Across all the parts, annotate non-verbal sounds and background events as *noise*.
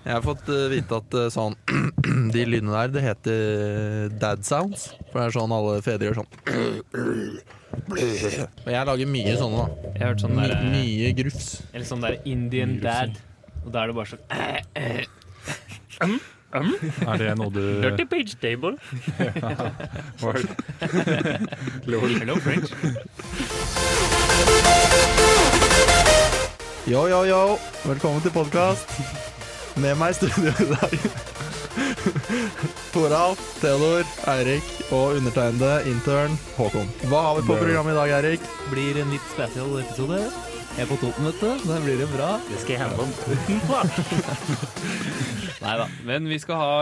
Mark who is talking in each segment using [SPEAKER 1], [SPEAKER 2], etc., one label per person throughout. [SPEAKER 1] Jeg har fått eh, vite at eh, sånn *clears throat* De lydene der, det heter eh, dad sounds. For det er sånn alle fedre *clears throat* gjør sånn. Og jeg lager mye sånne, da.
[SPEAKER 2] Jeg har hørt sånn
[SPEAKER 1] My,
[SPEAKER 2] der, eh,
[SPEAKER 1] mye grufs.
[SPEAKER 2] eller sånn der Indian dad. Og da er det bare sånn eh, eh,
[SPEAKER 3] Er det noe du
[SPEAKER 2] Dirty page table.
[SPEAKER 3] Var-
[SPEAKER 2] Hello French.
[SPEAKER 1] Yo, yo, yo. Velkommen til podkast. Med meg i studio i dag *laughs* Toralf, Theodor, Eirik og undertegnede intern Håkon. Hva har vi på programmet i dag, Eirik?
[SPEAKER 4] blir en litt spesial episode. Jeg er på Toten, vet du. Den blir det bra.
[SPEAKER 2] Det skal jeg handle om Toten, Nei da. Men vi skal ha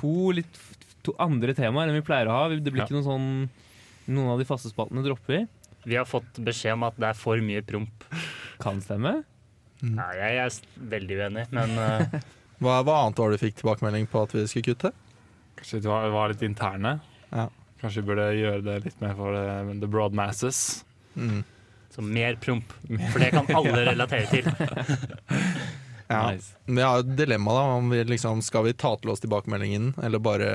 [SPEAKER 2] to litt to andre temaer enn vi pleier å ha. Det blir ikke noen sånn Noen av de faste spaltene dropper.
[SPEAKER 5] *laughs* Vi har fått beskjed om at det er for mye promp.
[SPEAKER 2] Kan stemme.
[SPEAKER 5] Nei, jeg er s- veldig uenig, men eh,
[SPEAKER 1] Mm. Hva, hva annet var det du fikk tilbakemelding på at vi skulle kutte?
[SPEAKER 3] Kanskje vi var, var litt interne?
[SPEAKER 1] Ja.
[SPEAKER 3] Kanskje vi burde gjøre det litt mer for eh, the broad masses?
[SPEAKER 1] Mm.
[SPEAKER 5] så mer promp. For det kan alle relatere til.
[SPEAKER 1] Ja.
[SPEAKER 2] Nice.
[SPEAKER 1] Men Jeg har jo et dilemma da om vi liksom, Skal vi ta til oss tilbakemeldingen Eller bare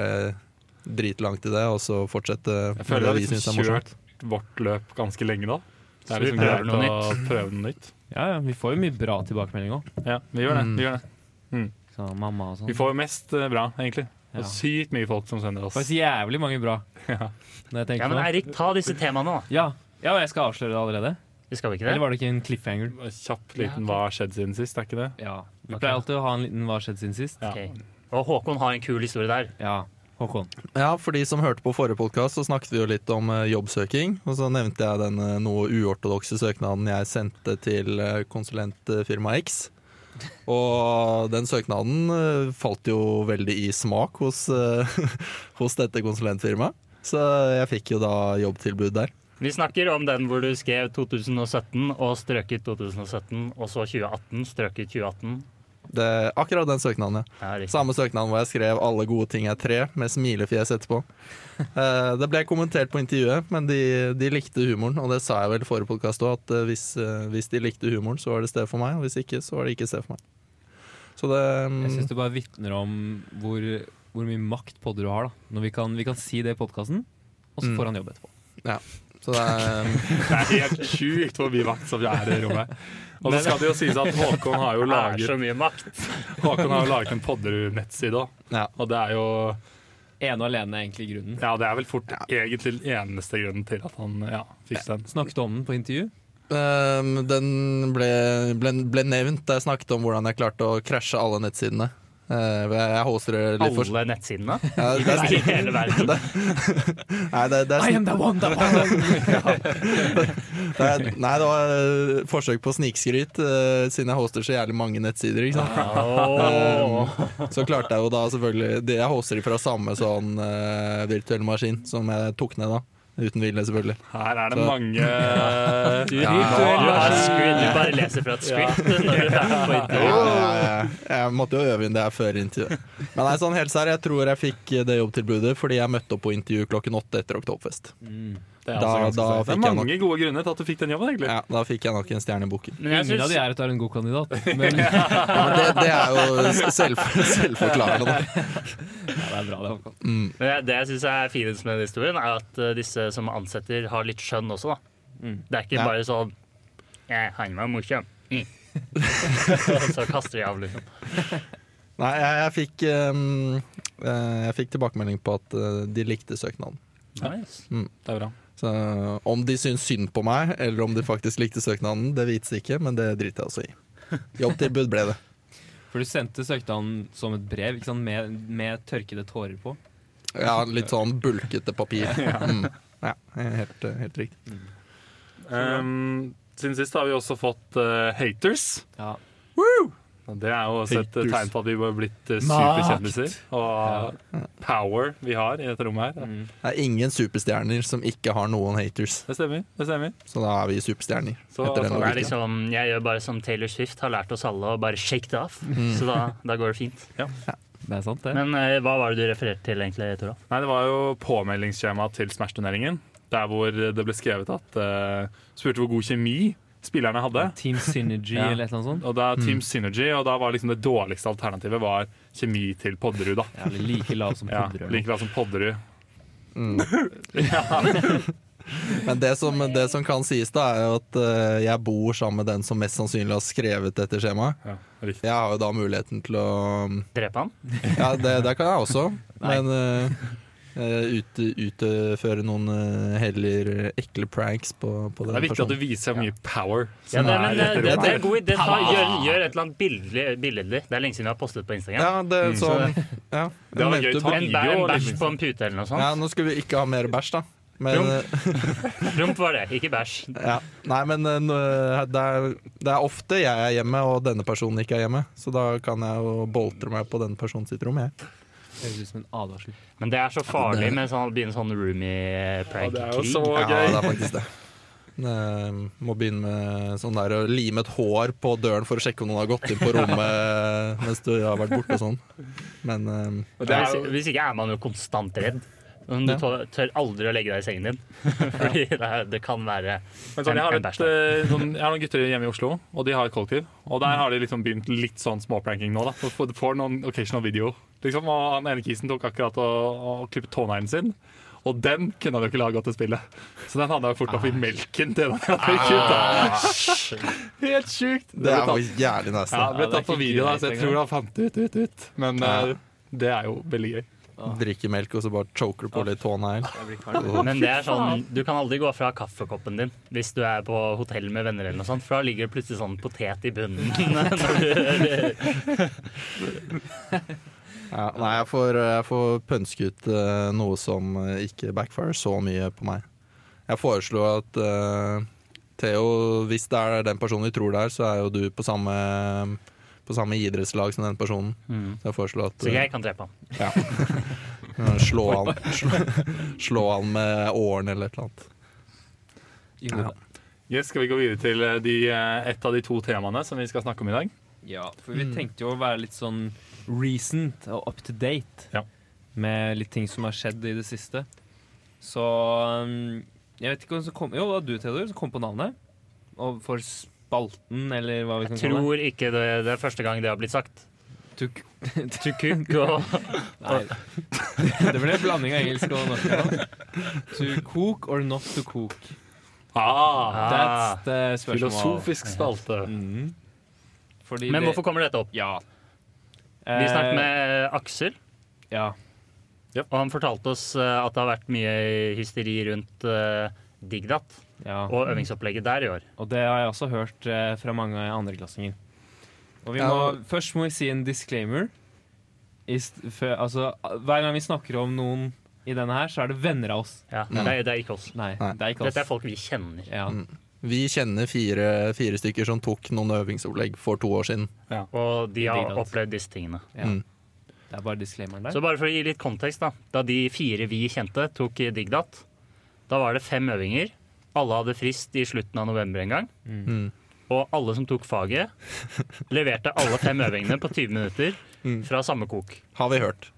[SPEAKER 1] drite langt i det Og så fortsette
[SPEAKER 3] Jeg
[SPEAKER 1] med
[SPEAKER 3] føler
[SPEAKER 1] det vi
[SPEAKER 3] vi har
[SPEAKER 1] synes er
[SPEAKER 3] liksom
[SPEAKER 1] morsomt
[SPEAKER 3] kjørt vårt løp ganske lenge, da. Det
[SPEAKER 5] Så
[SPEAKER 3] er
[SPEAKER 5] vi
[SPEAKER 3] liksom
[SPEAKER 5] prøver
[SPEAKER 3] greit
[SPEAKER 5] noe
[SPEAKER 3] å prøve noe nytt.
[SPEAKER 2] Ja, ja, vi får jo mye bra tilbakemelding òg.
[SPEAKER 3] Ja, vi gjør det.
[SPEAKER 1] Mm.
[SPEAKER 3] Vi, gjør det.
[SPEAKER 2] Sånn mamma og sånn.
[SPEAKER 3] vi får jo mest eh, bra, egentlig.
[SPEAKER 2] Ja.
[SPEAKER 3] Og sykt mye folk som sender oss.
[SPEAKER 2] Faktisk jævlig mange bra.
[SPEAKER 3] Ja.
[SPEAKER 2] Når jeg
[SPEAKER 5] Ja,
[SPEAKER 2] tenker
[SPEAKER 5] men
[SPEAKER 2] på det.
[SPEAKER 5] Eirik, ta disse temaene, da.
[SPEAKER 2] Ja, ja, jeg skal avsløre det allerede.
[SPEAKER 5] Vi skal vel ikke
[SPEAKER 2] Eller
[SPEAKER 5] det?
[SPEAKER 2] var det ikke en cliffhanger?
[SPEAKER 3] Kjapp liten
[SPEAKER 5] Ja, ok.
[SPEAKER 3] hva har skjedd siden sist, er ikke det?
[SPEAKER 2] Ja. Vi
[SPEAKER 3] Ok.
[SPEAKER 2] pleier alltid å ha en liten 'hva har skjedd siden sist'?
[SPEAKER 3] Ja.
[SPEAKER 5] Ok. Og Håkon har en kul historie der.
[SPEAKER 2] Ja, Håkon.
[SPEAKER 1] Ja, for de som hørte på forrige podcast Så snakket vi jo litt om eh, jobbsøking Og så nevnte jeg den eh, noe uortodokse søknaden Jeg sendte til eh, konsulentfirma X Og den søknaden eh, falt jo veldig i smak Hos, eh, *laughs* hos dette konsulentfirmaet Så jeg fikk jo da jobbtilbud der
[SPEAKER 5] Vi snakker om den hvor du skrev 2017 og strøket 2017, og så 2018, strøket 2018.
[SPEAKER 1] det, Akkurat den søknaden, ja
[SPEAKER 5] Ja, riktig.
[SPEAKER 1] Samme søknaden hvor jeg skrev 'alle gode ting er tre' med smilefjes
[SPEAKER 5] *laughs*
[SPEAKER 1] etterpå. Eh, Det ble kommentert på intervjuet, men de, de likte humoren. Og det sa jeg vel i forrige podkast òg, at eh, hvis, eh, hvis de likte humoren, så var det sted for meg. Og hvis ikke, så var det ikke sted for meg. Så det
[SPEAKER 2] Jeg syns
[SPEAKER 1] mm,
[SPEAKER 2] det bare vitner om hvor, hvor mye makt podder du har. da Når vi kan, vi kan si det i podkasten, og så
[SPEAKER 1] Mm.
[SPEAKER 2] får han jobb etterpå.
[SPEAKER 1] Så det er mm,
[SPEAKER 3] Det
[SPEAKER 1] *laughs*
[SPEAKER 3] er helt sjukt hvor mye vakt som er i rommet. Og så skal det jo sies at Håkon har jo
[SPEAKER 5] Det er
[SPEAKER 3] laget,
[SPEAKER 5] så mye makt.
[SPEAKER 3] Håkon har jo laget en Podderud-nettside òg.
[SPEAKER 1] Ja.
[SPEAKER 3] Og det er jo
[SPEAKER 2] Ene og alene er egentlig grunnen.
[SPEAKER 3] Ja, det er vel fort egentlig den eneste grunnen til at han ja, fikk den.
[SPEAKER 2] Snakket du om den på intervju?
[SPEAKER 1] Ehm, Den ble, ble, ble nevnt da jeg snakket om hvordan jeg klarte å krasje alle nettsidene. Eh, Jeg hoster det litt for
[SPEAKER 5] Alle nettsidene
[SPEAKER 1] Ja,
[SPEAKER 5] i
[SPEAKER 1] det er-
[SPEAKER 5] *laughs* hele verden.
[SPEAKER 1] *laughs* Nei, det, det er
[SPEAKER 2] I am the one, the one. *laughs*
[SPEAKER 1] Det er, nei, det var øh, forsøk på snikskryt, øh, siden jeg hoster så jævlig mange nettsider. Ikke
[SPEAKER 3] *laughs*
[SPEAKER 1] sant?
[SPEAKER 5] Åh.
[SPEAKER 1] Ehm, så klarte jeg jo da selvfølgelig det Jeg hoster de fra samme sånn øh, virtuell maskin som jeg tok ned da. Uten vilje, selvfølgelig.
[SPEAKER 3] Her er det
[SPEAKER 1] Så-
[SPEAKER 3] mange
[SPEAKER 5] Du har
[SPEAKER 3] ja,
[SPEAKER 5] script, du bare leser fra et script når du er på
[SPEAKER 1] Ja,
[SPEAKER 5] intervju.
[SPEAKER 1] ja, ja. Jeg måtte jo øve inn det her før intervjuet. Men nei, sånn helt seriøst, jeg tror jeg fikk det jobbtilbudet fordi jeg møtte opp på intervju klokken åtte etter Oktoberfest.
[SPEAKER 2] Mm.
[SPEAKER 3] Det er,
[SPEAKER 1] Da-
[SPEAKER 3] også ganske
[SPEAKER 1] da
[SPEAKER 3] sant. det
[SPEAKER 1] fikk
[SPEAKER 3] er
[SPEAKER 1] jeg
[SPEAKER 3] mange gode grunner til at du fikk den jobben, egentlig.
[SPEAKER 1] Ja, da fikk jeg nok en stjerne i boken.
[SPEAKER 5] Men
[SPEAKER 2] Ingen
[SPEAKER 5] jeg
[SPEAKER 2] av
[SPEAKER 5] synes-
[SPEAKER 2] de er at du er en god *laughs* kandidat, men ja,
[SPEAKER 1] Ja, men det, det er jo selv, selvforklarende. da.
[SPEAKER 2] det er bra, det, Håkon.
[SPEAKER 1] Mm.
[SPEAKER 5] Men jeg- Det jeg syns er finest med den historien, er at eh, disse som ansetter, har litt skjønn også, da.
[SPEAKER 2] Mm.
[SPEAKER 5] Det er ikke
[SPEAKER 1] Ja.
[SPEAKER 5] bare sånn «Eh, 'Han var morsom'. Mm. så kaster de av, liksom.
[SPEAKER 1] Nei, jeg, jeg fikk ehm, eh, Jeg fikk tilbakemelding på at eh, de likte søknaden.
[SPEAKER 3] Det er bra.
[SPEAKER 1] Så eh, Om de syns synd på meg, eller om de faktisk likte søknaden, det vites ikke, men det driter jeg også i. Jobbtilbud ble det.
[SPEAKER 2] For du sendte søknaden som et brev ikke sant? Med, med tørkede tårer på.
[SPEAKER 1] Ja, Litt sånn bulkete papir. Mm. Ja, helt, eh, helt riktig.
[SPEAKER 3] Um, siden sist har vi også fått eh, haters.
[SPEAKER 2] Ja.
[SPEAKER 3] Og Det er jo også et
[SPEAKER 1] Haters.
[SPEAKER 3] tegn på at vi har blitt eh,
[SPEAKER 2] Makt.
[SPEAKER 3] superkjendiser. Og power vi har i dette rommet her.
[SPEAKER 2] Mm.
[SPEAKER 1] Det er ingen superstjerner som ikke har noen haters,
[SPEAKER 3] Det stemmer. det stemmer
[SPEAKER 1] så da er vi superstjerner.
[SPEAKER 3] Så-
[SPEAKER 1] Etter den
[SPEAKER 3] så
[SPEAKER 5] Det er
[SPEAKER 1] logikken.
[SPEAKER 5] liksom, jeg gjør bare som Taylor Swift har lært oss alle, og bare shake det off. Så da, da går det fint.
[SPEAKER 2] Det er sant, det.
[SPEAKER 5] Men eh, hva var det du refererte til egentlig, Toralf?
[SPEAKER 3] Nei, Det var jo påmeldingsskjemaet til Smash-turneringen. Der hvor det ble skrevet at eh, Spurte hvor god kjemi spillerne hadde.
[SPEAKER 2] Team *laughs* Synergy
[SPEAKER 3] Ja.
[SPEAKER 2] eller et eller annet sånt.
[SPEAKER 3] Og da Team Synergy, og da var liksom det dårligste alternativet var kjemi til Podderud, da.
[SPEAKER 2] Ja, eller like lav som
[SPEAKER 3] Ja,
[SPEAKER 2] Podderød.
[SPEAKER 3] like lavt som Podderud.
[SPEAKER 1] Men det som, det som kan sies, da, er jo at eh, jeg bor sammen med den som mest sannsynlig har skrevet dette skjemaet.
[SPEAKER 3] Ja, riktig.
[SPEAKER 1] Jeg har jo da muligheten til å
[SPEAKER 5] Drepe han?
[SPEAKER 1] Ja, det, det kan jeg
[SPEAKER 3] *laughs*
[SPEAKER 1] også, men eh, eh, ut, utføre noen eh, heller ekle pranks på, på
[SPEAKER 3] Det
[SPEAKER 1] den
[SPEAKER 3] er viktig at du
[SPEAKER 1] personen.
[SPEAKER 3] viser hvor mye power
[SPEAKER 5] Ja,
[SPEAKER 3] som
[SPEAKER 5] det, men,
[SPEAKER 3] er
[SPEAKER 5] det, det, det er god idé. Ta,
[SPEAKER 3] Power!
[SPEAKER 5] gjør, gjør et eller annet billig, billedlig. Det er lenge siden jeg har postet på Instagram.
[SPEAKER 1] *laughs* Ja, det er sånn ja.
[SPEAKER 3] Mm. Det var
[SPEAKER 1] Jeg mente
[SPEAKER 3] gøy
[SPEAKER 1] bra-
[SPEAKER 3] ta-
[SPEAKER 5] En, bæ-
[SPEAKER 3] video,
[SPEAKER 5] en bæsj
[SPEAKER 3] liksom.
[SPEAKER 5] på en pute eller noe sånt.
[SPEAKER 1] ja, Nå skal vi ikke ha mer bæsj, da. Men,
[SPEAKER 5] Jo.
[SPEAKER 1] eh,
[SPEAKER 5] Rump var det, ikke bæsj.
[SPEAKER 1] ja. Nei, men eh, nå- det, er, det er ofte jeg er hjemme, og denne personen ikke er hjemme. Så da kan jeg jo boltre meg på denne personen sitt rom. Jeg.
[SPEAKER 2] Høres ut som en advarsel.
[SPEAKER 5] Men det er så farlig med sånn, å begynne sånn roomie-prank.
[SPEAKER 3] det er jo så
[SPEAKER 1] Ja,
[SPEAKER 3] gøy.
[SPEAKER 1] det er faktisk det. Eh, må begynne med sånn der å lime et hår på døren for å sjekke om noen har gått inn på rommet mens du har vært borte og sånn. Men eh,
[SPEAKER 3] Og det er
[SPEAKER 5] hvis,
[SPEAKER 3] jo-
[SPEAKER 5] hvis ikke er man jo konstant redd. Sånn, Du
[SPEAKER 1] Ja.
[SPEAKER 5] tør, tør aldri å legge deg i sengen din. Fordi det, er- det kan være
[SPEAKER 3] Men sånn, jeg, har
[SPEAKER 5] En- en
[SPEAKER 3] et,
[SPEAKER 5] bæsj, da.
[SPEAKER 3] eh, sånn, jeg har noen gutter hjemme i Oslo, og de har et kollektiv. Og der har de liksom begynt litt sånn småpranking nå. da Du får- du får noen occasional video. Liksom, og han ene kisen tok akkurat å, å klippe tåneglen sin. Og den kunne han jo ikke la gå til spillet. Så den hadde jeg fort oppi melken til den. han hadde kutta. *laughs* Helt sjukt!
[SPEAKER 1] det
[SPEAKER 3] ble
[SPEAKER 1] er
[SPEAKER 3] tatt,
[SPEAKER 1] faktisk jævlig nice.
[SPEAKER 3] ja,
[SPEAKER 1] da.
[SPEAKER 3] det ble
[SPEAKER 2] Ja, det er
[SPEAKER 3] tatt på
[SPEAKER 2] ikke
[SPEAKER 3] video, da,
[SPEAKER 2] greit
[SPEAKER 3] så jeg
[SPEAKER 2] engang.
[SPEAKER 3] tror han fant det ut, ut, ut. Men eh, det er jo veldig gøy.
[SPEAKER 1] Drikker melk, og så bare choker du på litt tånegl.
[SPEAKER 5] Men det er sånn, du kan aldri gå fra kaffekoppen din hvis du er på hotell med venner, eller noe sånt, for da ligger det plutselig sånn potet i
[SPEAKER 3] *laughs*
[SPEAKER 5] bunnen. *laughs*
[SPEAKER 1] Ja, nei, jeg får, jeg får pønske ut eh, noe som eh, ikke backfire så mye på meg. Jeg foreslo at eh, Theo, hvis det er den personen vi tror det er, så er jo du på samme, på samme idrettslag som den personen.
[SPEAKER 3] Mm.
[SPEAKER 1] Så jeg foreslo at
[SPEAKER 5] Så
[SPEAKER 1] eh,
[SPEAKER 5] jeg kan drepe ham.
[SPEAKER 1] ja. slå, han, slå, slå han med åren eller et eller annet.
[SPEAKER 2] Yngve.
[SPEAKER 3] Yes, skal vi gå videre til eh, de, eh, et av de to temaene som vi skal snakke om i dag?
[SPEAKER 2] Ja, for
[SPEAKER 5] Mm.
[SPEAKER 2] vi tenkte jo å være litt sånn recent og up to date
[SPEAKER 3] Ja.
[SPEAKER 2] med litt ting som har skjedd i det siste. Så um, jeg vet ikke hvem som kom Jo, det var du, Theodor, som kom på navnet. Og for spalten, eller hva vi kan kalle det.
[SPEAKER 5] Tror ikke det, det er første gang det har blitt sagt.
[SPEAKER 2] Tuk-
[SPEAKER 5] Tukuk og
[SPEAKER 2] *laughs* Nei. Det ble en blanding av engelsk og norsk. nå. To cook or not to cook?
[SPEAKER 3] Ah,
[SPEAKER 2] That's the spørsmål.
[SPEAKER 3] filosofisk spalte.
[SPEAKER 2] Mm. Fordi
[SPEAKER 5] Ah. Men
[SPEAKER 2] det-
[SPEAKER 5] hvorfor kommer dette opp?
[SPEAKER 2] Ja.
[SPEAKER 5] Vi
[SPEAKER 2] Eh,
[SPEAKER 5] snakket med Aksel,
[SPEAKER 2] Ja.
[SPEAKER 5] og han fortalte oss eh, at det har vært mye hysteri rundt eh, Digdat
[SPEAKER 2] ja.
[SPEAKER 5] og øvingsopplegget der i år.
[SPEAKER 2] Og det har jeg også hørt eh, fra mange andreklassinger. Og vi må,
[SPEAKER 1] Ja.
[SPEAKER 2] først må vi si en disclaimer. I st før, altså, hver gang vi snakker om noen i denne her, så er det venner av oss.
[SPEAKER 5] Ja,
[SPEAKER 1] Mm.
[SPEAKER 5] det, er- det er ikke oss.
[SPEAKER 2] Nei,
[SPEAKER 1] Nei.
[SPEAKER 2] det er ikke
[SPEAKER 5] Dette er
[SPEAKER 2] oss.
[SPEAKER 5] folk vi kjenner.
[SPEAKER 2] Ja.
[SPEAKER 1] Mm. Vi kjenner fire, fire stykker som tok noen øvingsopplegg for to år siden.
[SPEAKER 5] Og de har
[SPEAKER 2] Digdat.
[SPEAKER 5] opplevd disse tingene.
[SPEAKER 2] Ja.
[SPEAKER 1] Mm.
[SPEAKER 2] Det er bare disclaimeren der.
[SPEAKER 5] Så bare for å gi litt kontekst, da. Da de fire vi kjente tok i Digdat, da var det fem øvinger. Alle hadde frist i slutten av november en gang.
[SPEAKER 1] Mm.
[SPEAKER 5] Og alle som
[SPEAKER 2] *laughs*
[SPEAKER 5] tok faget, leverte alle fem øvingene på 20 minutter
[SPEAKER 2] Mm.
[SPEAKER 5] fra samme kok.
[SPEAKER 1] Har vi hørt.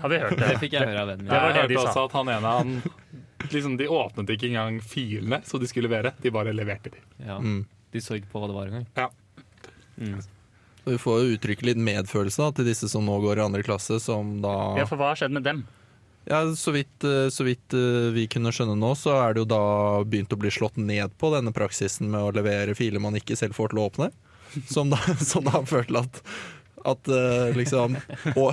[SPEAKER 5] Har vi hørt det?
[SPEAKER 2] det fikk jeg høre av vennen min.
[SPEAKER 5] Det var
[SPEAKER 3] jeg
[SPEAKER 5] det de
[SPEAKER 3] hørte
[SPEAKER 5] sa.
[SPEAKER 3] også at han ene han, liksom, De åpnet ikke engang filene som de skulle levere, de bare leverte de.
[SPEAKER 2] Ja.
[SPEAKER 1] Mm.
[SPEAKER 2] De så ikke på hva det var engang.
[SPEAKER 3] Ja.
[SPEAKER 2] Mm.
[SPEAKER 1] Så vi får jo uttrykke litt medfølelse da, til disse som nå går i andre klasse, som da
[SPEAKER 5] Ja, for hva har skjedd med dem?
[SPEAKER 1] Ja, så vidt, eh, så vidt eh, vi kunne skjønne nå, så er det jo da begynt å bli slått ned på denne praksisen med å levere filer man ikke selv får til å åpne. Som da, *laughs* som da førte til at, at eh, liksom å,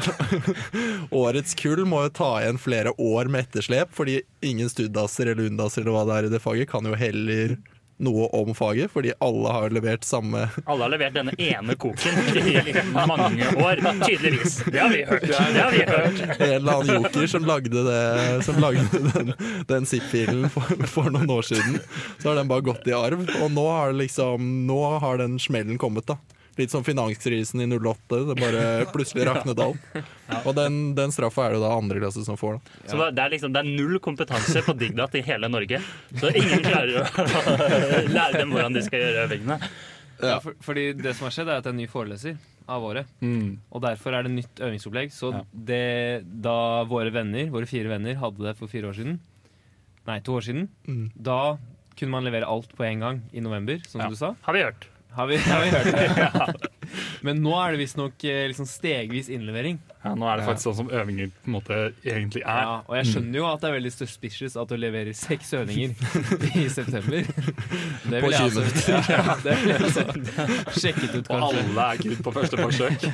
[SPEAKER 1] *laughs* Årets kull må jo ta igjen flere år med etterslep, fordi ingen studdasser eller unndasser eller hva det er i det faget, kan jo heller noe om faget, fordi alle har levert samme
[SPEAKER 5] Alle har levert denne ene koken i mange år, tydeligvis. Det har vi hørt. Det har vi hørt.
[SPEAKER 1] *laughs* En eller annen joker som lagde, det, som lagde den, den zip-filen for, for noen år siden. Så har den bare gått i arv, og nå har, det liksom, nå har den smellen kommet. da Litt som finanskrisen i 08. Det bare plutselig raknet alt. Og den, den straffa er det jo da andre klasse som får. da
[SPEAKER 5] Så det er, liksom, det er null kompetanse på Digdat i hele Norge. Så ingen klarer å *laughs* lære dem hvordan de skal gjøre øvingene.
[SPEAKER 2] Ja, for, fordi det som har skjedd, er at det er en ny foreleser av året.
[SPEAKER 3] Mm.
[SPEAKER 2] Og derfor er det nytt øvingsopplegg. Så
[SPEAKER 3] Ja.
[SPEAKER 2] det, da våre venner, våre fire venner hadde det for fire år siden, nei, to år siden, da kunne man levere alt på en gang i november, som
[SPEAKER 3] Mm. Ja.
[SPEAKER 2] du sa.
[SPEAKER 5] Har vi hørt.
[SPEAKER 2] Har vi, har vi hørt det?
[SPEAKER 3] *laughs*
[SPEAKER 2] Men nå er det visstnok eh, liksom stegvis innlevering.
[SPEAKER 3] Ja, nå er det faktisk sånn som øvinger på en måte egentlig er.
[SPEAKER 2] Ja, og jeg
[SPEAKER 3] Mm.
[SPEAKER 2] skjønner jo at det er veldig suspicious at du leverer seks øvinger i
[SPEAKER 3] *laughs*
[SPEAKER 2] september. Det
[SPEAKER 1] På
[SPEAKER 2] ville jeg
[SPEAKER 1] 20
[SPEAKER 2] altså, *laughs* ja, det ville jeg altså sjekket ut,
[SPEAKER 3] Og
[SPEAKER 2] kanskje.
[SPEAKER 3] alle er good på første *laughs* forsøk.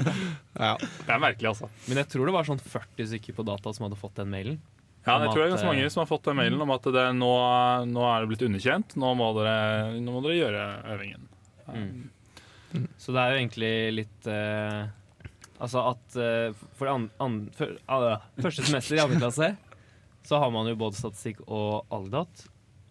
[SPEAKER 1] Ja.
[SPEAKER 3] Det er merkelig, altså.
[SPEAKER 2] Men jeg tror det var sånn 40 stykker på data som hadde fått den mailen.
[SPEAKER 3] Ja,
[SPEAKER 2] Om
[SPEAKER 3] jeg tror det er
[SPEAKER 2] at,
[SPEAKER 3] ganske mange
[SPEAKER 2] eh,
[SPEAKER 3] som har fått den mailen om at det nå, nå er det blitt underkjent. Nå må dere, nå må dere gjøre øvingen.
[SPEAKER 2] Så det er jo egentlig litt eh, Altså at eh, for, an, an, for ah, første semester i andre klasse så har man jo både statistikk og aldat.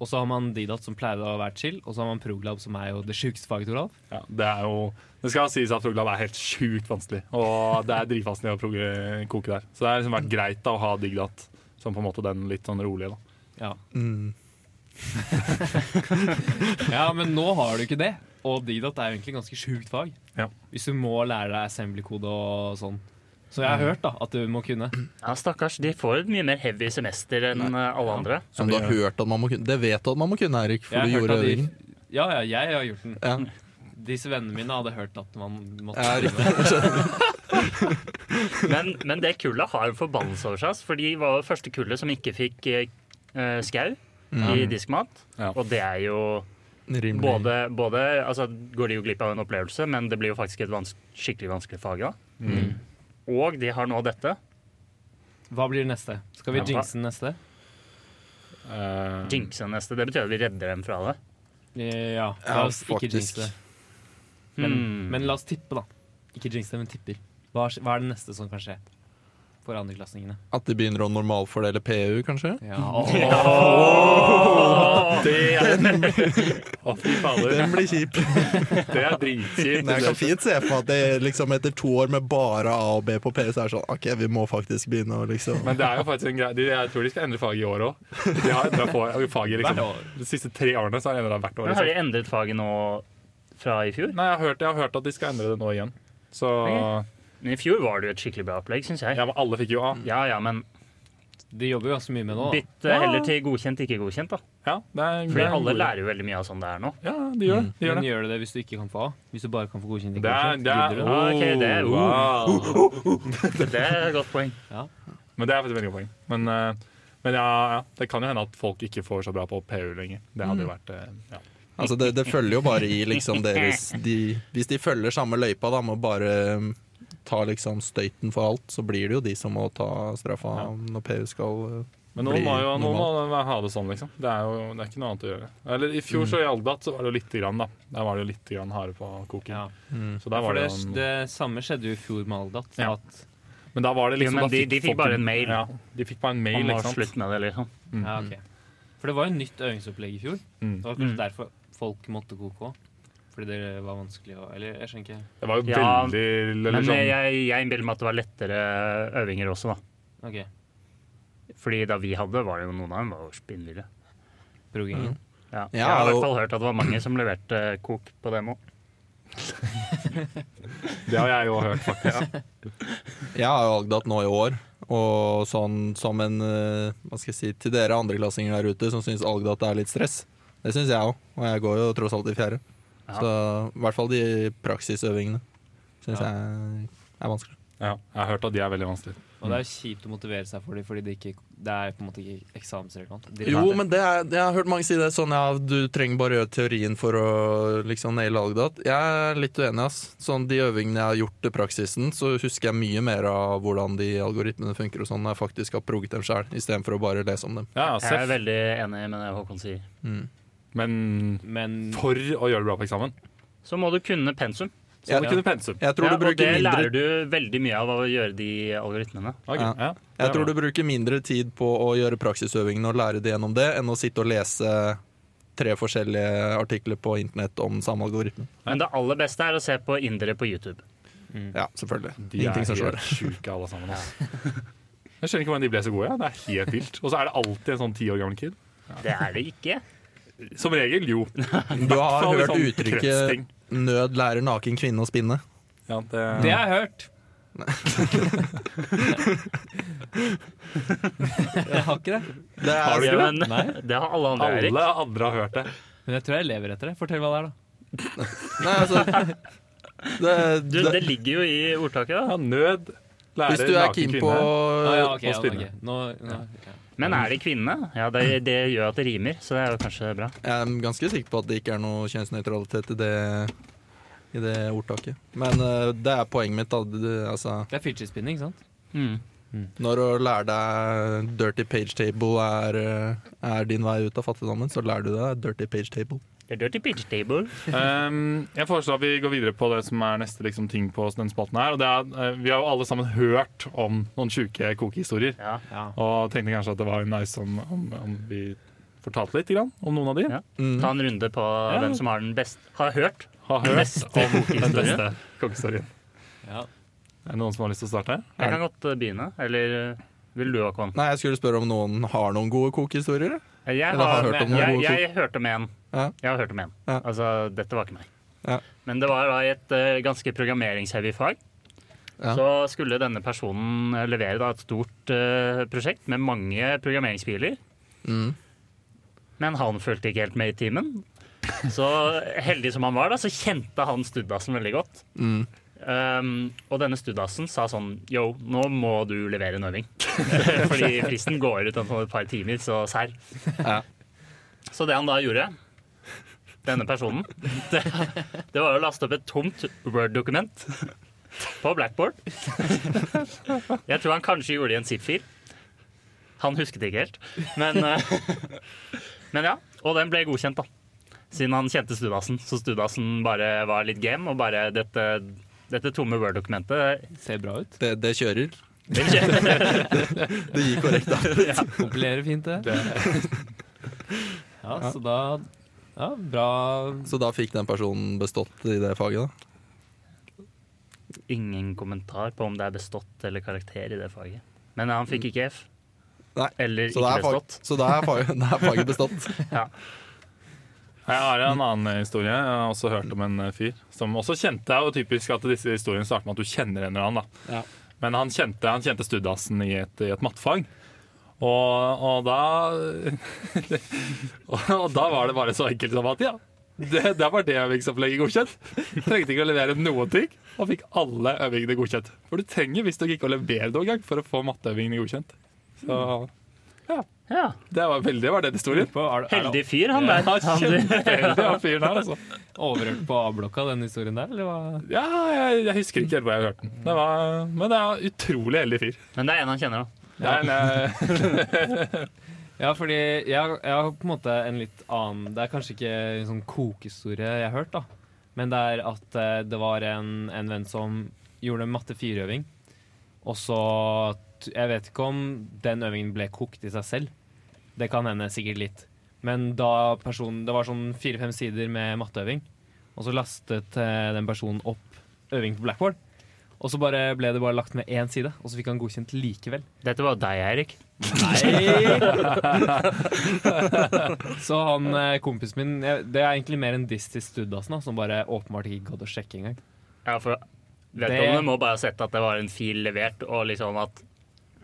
[SPEAKER 2] Og så har man didat som pleier å være chill, og så har man proglab som er jo det sjukeste faget, Toralf.
[SPEAKER 3] Ja, det er jo Det skal sies at proglab er helt sjukt vanskelig, og det er dritvanskelig å prog- koke der. Så det har liksom vært greit da å ha digdat som på en måte den litt sånn rolige, da.
[SPEAKER 2] Ja.
[SPEAKER 1] Mm.
[SPEAKER 2] *laughs* ja, men nå har du ikke det. Og didat er jo egentlig ganske sjukt fag.
[SPEAKER 3] Ja.
[SPEAKER 2] Hvis du må lære deg assembly-kode og sånn. Så jeg har
[SPEAKER 1] Mm.
[SPEAKER 2] hørt da at du må kunne.
[SPEAKER 5] Ja, Stakkars, de får et mye mer heavy semester enn eh, alle andre.
[SPEAKER 1] Som du har hørt at man må kunne. Det vet du at man må kunne, Erik, for
[SPEAKER 2] Jeg
[SPEAKER 1] du
[SPEAKER 2] har hørt
[SPEAKER 1] gjorde
[SPEAKER 2] at de-
[SPEAKER 1] øvingen.
[SPEAKER 2] Ja, ja, jeg har gjort den.
[SPEAKER 1] Ja.
[SPEAKER 2] Disse vennene mine hadde hørt at man måtte
[SPEAKER 1] Ja,
[SPEAKER 2] *laughs*
[SPEAKER 1] riktig.
[SPEAKER 5] Men, men det kullet har en forbannelse over seg, ass, for de var jo første kullet som ikke fikk eh, eh, skau i diskmat.
[SPEAKER 3] Ja.
[SPEAKER 5] Og det er jo
[SPEAKER 1] Rimelig.
[SPEAKER 5] både, både Altså går de jo glipp av en opplevelse, men det blir jo faktisk et vans skikkelig vanskelig fag da.
[SPEAKER 3] Mm.
[SPEAKER 5] Og de har nå dette.
[SPEAKER 2] Hva blir neste? Skal vi
[SPEAKER 5] Ja.
[SPEAKER 2] jinxe den neste?
[SPEAKER 3] Eh,
[SPEAKER 5] Jinxen neste. Det betyr at vi redder dem fra det.
[SPEAKER 2] Eh, Ja,
[SPEAKER 1] Ja,
[SPEAKER 2] la oss ikke
[SPEAKER 1] faktisk.
[SPEAKER 2] jinxe det. Men,
[SPEAKER 3] Mm.
[SPEAKER 2] men la oss tippe, da. Ikke jinxe det, men tipper. Hva, er- hva er det neste som kan skje for andreklassingene?
[SPEAKER 1] At de begynner å normalfordele PU, kanskje?
[SPEAKER 2] *laughs* Ja,
[SPEAKER 3] *laughs* Å, fy fader.
[SPEAKER 1] Den blir kjip.
[SPEAKER 3] Det er dritkjipt.
[SPEAKER 1] Men jeg kan fint se for meg at det liksom etter to år med bare A og B på PU, så er det sånn OK, vi må faktisk begynne å liksom
[SPEAKER 3] Men det er jo faktisk en greie de, Jeg tror de skal endre faget i år òg. De har endra faget
[SPEAKER 2] Hvert
[SPEAKER 3] liksom.
[SPEAKER 2] år.
[SPEAKER 3] de siste tre årene. Så har de endret hvert år
[SPEAKER 5] Men har
[SPEAKER 3] liksom.
[SPEAKER 5] de endret faget nå fra i fjor?
[SPEAKER 3] Nei, jeg har, hørt, jeg har hørt at de skal endre det nå igjen. Så
[SPEAKER 5] Ok. Men I fjor var det jo et skikkelig bra opplegg, syns jeg.
[SPEAKER 3] ja, men Alle fikk jo A.
[SPEAKER 5] Ja ja, men
[SPEAKER 2] De jobber jo ganske mye med det nå. da.
[SPEAKER 5] bytt eh, heller til godkjent, ikke godkjent, da.
[SPEAKER 3] Ja, det er
[SPEAKER 5] Fordi alle
[SPEAKER 3] gode-
[SPEAKER 5] lærer jo veldig mye av sånn det er nå.
[SPEAKER 3] Ja, de gjør det. De gjør
[SPEAKER 2] Men
[SPEAKER 3] det.
[SPEAKER 2] gjør du det hvis du ikke kan få A? Hvis du bare kan få godkjent ikke
[SPEAKER 3] Det er,
[SPEAKER 2] godkjent?
[SPEAKER 3] det er,
[SPEAKER 2] Gidder du
[SPEAKER 5] Ah, ok, det er-
[SPEAKER 3] Oh, wow.
[SPEAKER 5] Det er et godt
[SPEAKER 3] *laughs*
[SPEAKER 5] poeng.
[SPEAKER 3] Men det er faktisk et veldig godt poeng. Men, eh, men ja, ja, det kan jo hende at folk ikke får så bra på PU lenger. Det hadde jo vært eh, ja.
[SPEAKER 1] Altså, det, det følger jo bare i liksom deres de, Hvis de følger samme løypa, da, med å bare um, ta liksom støyten for alt, så blir det jo de som må ta straffa når PU skal uh,
[SPEAKER 3] Men noen
[SPEAKER 1] bli
[SPEAKER 3] må jo noen må
[SPEAKER 1] normal.
[SPEAKER 3] ha det sånn, liksom. Det er jo det er ikke noe annet å gjøre. Eller I
[SPEAKER 1] Mm.
[SPEAKER 3] fjor så i Aldat så var det jo lite grann, da. Der var det jo lite grann harde på koken.
[SPEAKER 2] Ja.
[SPEAKER 3] Så der
[SPEAKER 2] For
[SPEAKER 3] var det,
[SPEAKER 2] det,
[SPEAKER 3] jo en-
[SPEAKER 2] det samme skjedde jo i fjor med Aldat.
[SPEAKER 3] Ja.
[SPEAKER 2] At,
[SPEAKER 3] Men da var det liksom
[SPEAKER 5] Jo,
[SPEAKER 3] da
[SPEAKER 5] men de- de fikk
[SPEAKER 3] folk-
[SPEAKER 5] bare en mail.
[SPEAKER 3] Ja, de fikk bare en mail,
[SPEAKER 5] Man må
[SPEAKER 3] liksom.
[SPEAKER 5] slutte med det, liksom.
[SPEAKER 2] ja, ok. For det var jo nytt øvingsopplegg i fjor.
[SPEAKER 3] Mm.
[SPEAKER 2] Det var kanskje
[SPEAKER 5] Mm.
[SPEAKER 2] derfor folk måtte koke òg. Fordi det var vanskelig å Eller jeg skjønner ikke.
[SPEAKER 3] Det var jo
[SPEAKER 5] Ja,
[SPEAKER 3] veldig eller
[SPEAKER 5] Men
[SPEAKER 3] sånn,
[SPEAKER 5] eh, jeg, jeg innbiller meg at det var lettere øvinger også, da.
[SPEAKER 2] Ok,
[SPEAKER 5] Fordi da vi hadde, var det jo noen av dem var jo spinnville.
[SPEAKER 2] Progingen.
[SPEAKER 5] Ja.
[SPEAKER 1] Ja,
[SPEAKER 5] jeg har i
[SPEAKER 1] og-
[SPEAKER 5] hvert fall hørt at det var mange som leverte eh, kok på demo.
[SPEAKER 3] Det har jeg jo hørt,
[SPEAKER 5] *laughs*
[SPEAKER 3] faktisk.
[SPEAKER 1] Jeg har jo Agdat nå i år, og sånn som en eh, Hva skal jeg si til dere andreklassinger der ute som syns Agdat er litt stress. Det syns jeg òg, og jeg går jo tross alt i fjerde.
[SPEAKER 5] Ja.
[SPEAKER 1] Så i hvert fall de praksisøvingene syns jeg er vanskelig.
[SPEAKER 3] Ja, jeg har hørt at de er veldig vanskelig.
[SPEAKER 2] Og det er kjipt å motivere seg for dem, fordi det, ikke, det er på en måte ikke eksamensrelevant. Direkte.
[SPEAKER 1] Jo, men det er, jeg har hørt mange si det sånn ja, du trenger bare gjøre teorien for å liksom naile Algdat. Jeg er litt uenig, ass. Sånn de øvingene jeg har gjort i praksisen, så husker jeg mye mer av hvordan de algoritmene funker og sånn, når jeg faktisk har proget dem sjøl, istedenfor å bare lese om dem. Mm.
[SPEAKER 3] Ja, ja,
[SPEAKER 5] Jeg er
[SPEAKER 3] seff.
[SPEAKER 5] veldig enig med det Håkon sier.
[SPEAKER 3] Men
[SPEAKER 2] Men-
[SPEAKER 3] for å gjøre det bra på eksamen,
[SPEAKER 5] Så må du kunne pensum.
[SPEAKER 3] så må du kunne pensum.
[SPEAKER 1] Jeg tror
[SPEAKER 5] Ja,
[SPEAKER 1] du
[SPEAKER 5] og det
[SPEAKER 1] bruker mindre
[SPEAKER 5] lærer du veldig mye av av å gjøre de algoritmene.
[SPEAKER 3] Ok,
[SPEAKER 1] Ja.
[SPEAKER 3] ja.
[SPEAKER 1] Jeg tror du bruker mindre tid på å gjøre praksisøvingene og lære det gjennom det, enn å sitte og lese tre forskjellige artikler på internett om samme algoritme.
[SPEAKER 5] Men det aller beste er å se på indere på YouTube.
[SPEAKER 2] mm.
[SPEAKER 1] Ja, selvfølgelig.
[SPEAKER 3] De er
[SPEAKER 1] Ingenting som slår
[SPEAKER 3] helt
[SPEAKER 1] det.
[SPEAKER 3] sjuke, alle sammen. Altså. *laughs* Jeg skjønner ikke hvordan de ble så gode. Ja. Det er helt vilt. Og så er det alltid en sånn ti år gammel kid.
[SPEAKER 5] Det er det ikke.
[SPEAKER 3] Som regel, jo.
[SPEAKER 1] Du har
[SPEAKER 3] Fall *laughs* i
[SPEAKER 1] hørt
[SPEAKER 3] sånn
[SPEAKER 1] uttrykket
[SPEAKER 3] kretsting.
[SPEAKER 1] 'nød lærer naken kvinne å spinne'.
[SPEAKER 3] Ja, det,
[SPEAKER 2] Det har jeg hørt. Jeg har ikke det.
[SPEAKER 1] Det er,
[SPEAKER 3] Har du
[SPEAKER 5] Ja,
[SPEAKER 3] ikke det?
[SPEAKER 5] men,
[SPEAKER 2] Nei.
[SPEAKER 5] *laughs* det har alle andre, Erik.
[SPEAKER 3] Alle andre har hørt det.
[SPEAKER 2] Men jeg tror jeg lever etter det. Fortell hva det er, da.
[SPEAKER 1] Nei,
[SPEAKER 3] *laughs*
[SPEAKER 1] altså det,
[SPEAKER 5] Du,
[SPEAKER 1] det,
[SPEAKER 5] det ligger jo i ordtaket. da.
[SPEAKER 3] Ja, nød lærer
[SPEAKER 1] Hvis du er
[SPEAKER 3] naken
[SPEAKER 1] keen på
[SPEAKER 3] kvinne.
[SPEAKER 1] Øh,
[SPEAKER 2] Ah, ja, ok,
[SPEAKER 3] og
[SPEAKER 2] ja,
[SPEAKER 3] spinne.
[SPEAKER 2] ok. Nå, nå, ja.
[SPEAKER 5] Men er det kvinne? Ja, det, det gjør at det rimer, så det er jo kanskje bra.
[SPEAKER 1] Jeg er ganske sikker på at det ikke er noe kjønnsnøytralitet i det, i det ordtaket. Men eh, det er poenget mitt. Da. Det, altså,
[SPEAKER 2] Det er fidget-spinning, ikke sant?
[SPEAKER 1] når å lære deg dirty page table er, eh, er din vei ut av fattigdommen, så lærer du deg dirty page table.
[SPEAKER 5] Det er dirty pitch table.
[SPEAKER 3] Um, jeg foreslår at vi går videre på det som er neste liksom, ting på denne spalten her. Og det er, eh, vi har jo alle sammen hørt om noen sjuke kokehistorier.
[SPEAKER 5] Ja.
[SPEAKER 2] Ja.
[SPEAKER 3] Og tenkte kanskje at det var nice om, om, om vi fortalte litt grann, om noen av de.
[SPEAKER 5] Ja.
[SPEAKER 1] Mm.
[SPEAKER 5] Ta en runde på hvem som har den best Har hørt.
[SPEAKER 3] Har
[SPEAKER 5] Beste
[SPEAKER 3] hørt om den
[SPEAKER 5] kokehistorien.
[SPEAKER 3] beste kokehistorien.
[SPEAKER 2] Ja.
[SPEAKER 3] Er det noen som har lyst til å starte?
[SPEAKER 5] Jeg kan godt eh, begynne. Eller eh, vil du, Håkon?
[SPEAKER 1] Nei, jeg skulle spørre om noen har noen gode kokehistorier. eller?
[SPEAKER 5] Jeg,
[SPEAKER 1] Eller har
[SPEAKER 5] har,
[SPEAKER 1] hørt om noen
[SPEAKER 5] jeg,
[SPEAKER 1] gode
[SPEAKER 5] jeg, hørte om en.
[SPEAKER 1] Ja.
[SPEAKER 5] Jeg har hørt om en.
[SPEAKER 1] Ja.
[SPEAKER 5] Altså, dette var ikke meg.
[SPEAKER 1] Ja.
[SPEAKER 5] Men det var da i et eh, ganske programmeringsheavy fag.
[SPEAKER 1] Ja.
[SPEAKER 5] Så skulle denne personen eh, levere da, et stort eh, prosjekt med mange programmeringsbiler.
[SPEAKER 1] Mm.
[SPEAKER 5] Men han fulgte ikke helt med i timen.
[SPEAKER 1] *laughs*
[SPEAKER 5] Så heldig som han var, da, så kjente han studdasen veldig godt.
[SPEAKER 1] Mm.
[SPEAKER 5] Um, og denne studdasen sa sånn Yo, nå må du levere en
[SPEAKER 1] *laughs*
[SPEAKER 5] øving. Fordi fristen går ut om et par timer, så serr.
[SPEAKER 1] Ja.
[SPEAKER 5] Så det han da gjorde, denne personen, det, det var å laste opp et tomt Word-dokument på Blackboard. Jeg tror han kanskje gjorde det i en zip-fil. Han husket ikke helt. Men, eh, men ja. Og den ble godkjent, da. Siden han kjente Studasen. Så Studasen bare var litt game, og bare dette, dette tomme Word-dokumentet
[SPEAKER 2] Ser bra ut.
[SPEAKER 1] Det, det kjører.
[SPEAKER 5] det kjører.
[SPEAKER 1] Det gir korrekt, da.
[SPEAKER 2] Kompilerer fint, det. Ja, så da Ja, bra.
[SPEAKER 1] Så da fikk den personen bestått i det faget, da.
[SPEAKER 5] Ingen kommentar på om det er bestått eller karakter i det faget. Men han fikk ikke F.
[SPEAKER 1] Nei,
[SPEAKER 5] Eller
[SPEAKER 1] Så da
[SPEAKER 5] ikke
[SPEAKER 1] er, fag,
[SPEAKER 5] bestått.
[SPEAKER 1] så da er, fag, da er faget bestått.
[SPEAKER 3] Jeg har en annen historie. Jeg har også hørt om en eh, fyr som også kjente og typisk at disse historiene starter med at du kjenner en eller annen. da.
[SPEAKER 1] Ja.
[SPEAKER 3] Men han kjente, han kjente studdasen i et, i et mattefag. Og, og da *laughs* Og da var det bare så enkelt som at ja, det, det var det øvingsopplegget godkjent. Trengte ikke å levere noen ting, og fikk alle øvingene godkjent. For du trenger visstnok ikke å levere noen gang for å få matteøvingene godkjent. Så
[SPEAKER 5] Ja,
[SPEAKER 3] det var veldig var den historien.
[SPEAKER 2] På, er, det- er det
[SPEAKER 5] Heldig fyr, han der.
[SPEAKER 3] Ja,
[SPEAKER 5] Han,
[SPEAKER 3] kjempeheldig av fyren her, altså.
[SPEAKER 2] overhørt på A-blokka, den historien der, eller hva?
[SPEAKER 3] Ja, jeg, jeg husker ikke helt hvor jeg hørte den. Det var, men det er en utrolig heldig fyr.
[SPEAKER 5] men det er en han kjenner, da.
[SPEAKER 3] Det er en, eh,
[SPEAKER 2] Ja, fordi jeg, jeg har på en måte en litt annen Det er kanskje ikke en sånn kokehistorie jeg har hørt, da. Men det er at eh, det var en, en venn som gjorde en matte 4-øving. Og så t- Jeg vet ikke om den øvingen ble kokt i seg selv. Det kan hende sikkert litt. Men da personen Det var sånn fire-fem sider med matteøving. Og så lastet eh, den personen opp øving på Blackboard. Og så bare ble det bare lagt med én side, og så fikk han godkjent likevel.
[SPEAKER 5] Dette var deg, Eirik.
[SPEAKER 2] Nei! Så han eh, kompisen min jeg- Det er egentlig mer en diss til Studdasen, da, som bare åpenbart ikke gadd å sjekke engang.
[SPEAKER 5] Ja, for Vedkommende må bare ha sett at det var en fil levert, og liksom at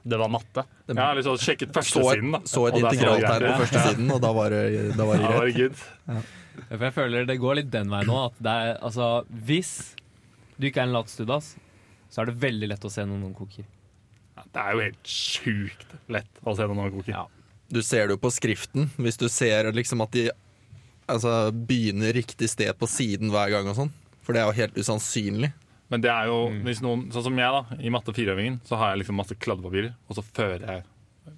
[SPEAKER 5] det var matte.
[SPEAKER 3] jeg har liksom sjekket
[SPEAKER 1] Så,
[SPEAKER 3] førstesiden, da.
[SPEAKER 1] så et
[SPEAKER 3] Og der står det
[SPEAKER 1] integraltegn på
[SPEAKER 3] greit.
[SPEAKER 1] første siden, og da var det, da var
[SPEAKER 3] Ja,
[SPEAKER 1] det greit.
[SPEAKER 3] herregud.
[SPEAKER 2] For jeg føler det går litt den veien nå. At det er, altså, hvis du ikke er en lat Studdas, så er det veldig lett å se når noen koker.
[SPEAKER 3] Det er jo helt sjukt lett å se noen koke.
[SPEAKER 2] Ja.
[SPEAKER 1] Du ser det jo på skriften. Hvis du ser liksom at de altså, begynner riktig sted på siden hver gang og sånn. For det er jo helt usannsynlig.
[SPEAKER 3] Men det er jo, hvis noen, sånn som jeg, da. I matte 4-øvingen så har jeg liksom masse kladdepapirer, og så fører jeg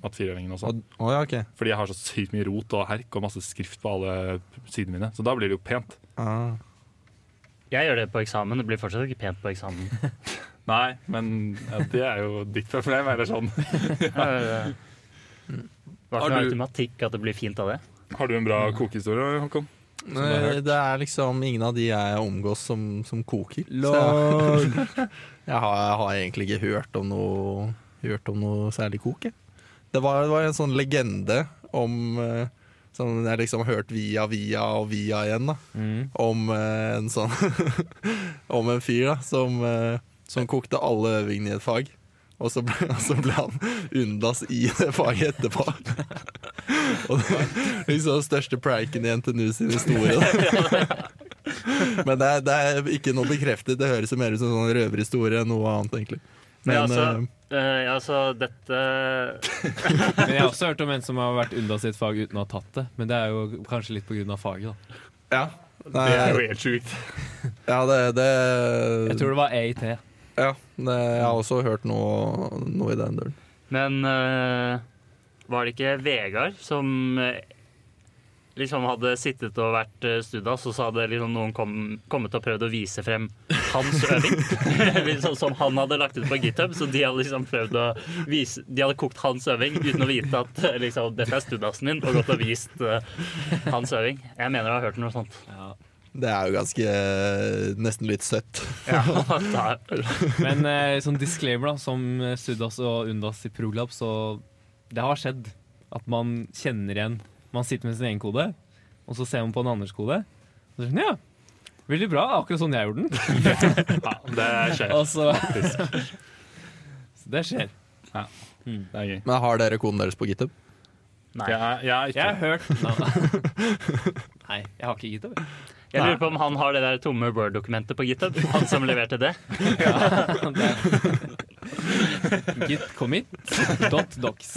[SPEAKER 3] matte 4-øvingen også.
[SPEAKER 1] Og, å ja, ok.
[SPEAKER 3] Fordi jeg har så sykt mye rot og herk og masse skrift på alle sidene mine. Så da blir det jo pent.
[SPEAKER 1] Ah.
[SPEAKER 5] Jeg gjør det på eksamen. Det blir fortsatt ikke pent på eksamen.
[SPEAKER 3] Nei, men ja, det er jo ditt problem, eller sånn.
[SPEAKER 5] Eh, Ja, Hva
[SPEAKER 3] Har
[SPEAKER 5] for
[SPEAKER 3] du-
[SPEAKER 5] automatikk at det blir fint av det?
[SPEAKER 3] Har du en bra kokehistorie, Håkon?
[SPEAKER 1] Nei, Det er liksom ingen av de jeg omgås som, som koker. Så jeg,
[SPEAKER 2] Lol.
[SPEAKER 1] jeg, har, jeg har egentlig ikke hørt om noe, hørt om noe særlig kok. jeg. Det var, det var en sånn legende om eh, Som jeg liksom har hørt via, via og via igjen. da
[SPEAKER 2] *laughs* Mm.
[SPEAKER 1] *laughs* om eh, en sånn Om en fyr da som eh, som kokte alle øvingene i et fag. Og så ble, *laughs* så ble han unnlass i det faget
[SPEAKER 2] *laughs*
[SPEAKER 1] etterpå. Og det var liksom den største pranken i NTNU sin historie. Da.
[SPEAKER 2] *laughs*
[SPEAKER 1] Men det er, det er ikke noe bekreftet. Det høres jo mer ut som en sånn røverhistorie enn noe annet, egentlig.
[SPEAKER 5] Men
[SPEAKER 1] Men,
[SPEAKER 5] altså,
[SPEAKER 1] eh,
[SPEAKER 5] eh, ja, altså dette
[SPEAKER 2] Men jeg har også hørt om en som har vært unna sitt fag uten å ha tatt det. Men det er jo kanskje litt pga. faget, da.
[SPEAKER 1] ja. Nei,
[SPEAKER 3] Det er jo helt sjukt.
[SPEAKER 1] ja, det, det
[SPEAKER 2] Jeg tror det var EIT.
[SPEAKER 1] Ja, det, jeg har også hørt noe, noe i den duren.
[SPEAKER 5] Men eh, var det ikke Vegard som eh, liksom hadde sittet og vært eh, studas, og så hadde liksom noen kom, kommet og prøvd å vise frem hans øving? *laughs* liksom, som han hadde lagt ut på GitHub, så de hadde liksom prøvd å vise De hadde kokt hans øving uten å vite at eh, liksom, dette er studasen din, og gått og vist eh, hans øving. Jeg mener jeg har hørt noe sånt.
[SPEAKER 1] Det er jo ganske eh, nesten litt søtt.
[SPEAKER 5] *laughs* Ja, da-
[SPEAKER 2] Men eh, sånn disclaimer, da, som eh, Sudas og Undas i Prolab, så det har skjedd at man kjenner igjen Man sitter med sin egen kode, og så ser man på en andres kode. Og så er det sånn, ja, veldig bra. Akkurat sånn jeg gjorde den.
[SPEAKER 3] Ja, det skjer.
[SPEAKER 2] Og så Så det skjer.
[SPEAKER 3] Det er gøy.
[SPEAKER 1] Men har dere koden deres på GitHub?
[SPEAKER 5] Nei.
[SPEAKER 3] Jeg, er- jeg er
[SPEAKER 2] Jeg
[SPEAKER 3] ikke
[SPEAKER 2] har hørt Nei, Nei jeg har ikke gitt over.
[SPEAKER 5] Jeg lurer på om han har det der tomme Word-dokumentet på GitHub. Han som leverte det.
[SPEAKER 2] *laughs* Gitcommit.docs.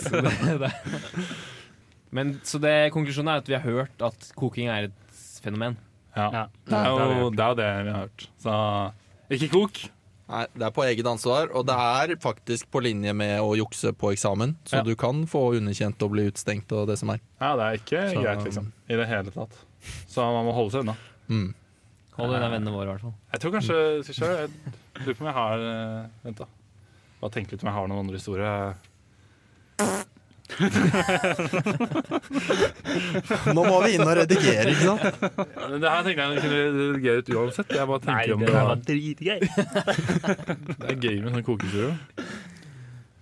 [SPEAKER 2] Men så det, konklusjonen er at vi har hørt at koking er et fenomen.
[SPEAKER 3] ja.
[SPEAKER 5] Ja.
[SPEAKER 3] Det er jo det, er jo det vi har hørt. Så ikke kok.
[SPEAKER 1] Nei, Det er på eget ansvar, og det er faktisk på linje med å jukse på eksamen. Så
[SPEAKER 3] Ja.
[SPEAKER 1] du kan få underkjent og bli utstengt og det som er.
[SPEAKER 3] Ja, det er ikke
[SPEAKER 1] Så-
[SPEAKER 3] greit, liksom. I det hele tatt. Så man må holde seg unna.
[SPEAKER 1] Mm.
[SPEAKER 2] Hold unna vennene våre, i hvert fall.
[SPEAKER 3] Jeg tror kanskje Skal vi se, jeg lurer på om jeg har eh, Vent, da. Bare tenk litt om jeg har noen andre historier.
[SPEAKER 1] Nå må vi inn og redigere, ikke sant?
[SPEAKER 3] Ja, men Det her tenkte jeg kunne redigere ut uansett. Jeg bare tenker om det,
[SPEAKER 5] her
[SPEAKER 3] var-
[SPEAKER 5] dritgøy.
[SPEAKER 3] det er gøy med sånn kokestudio.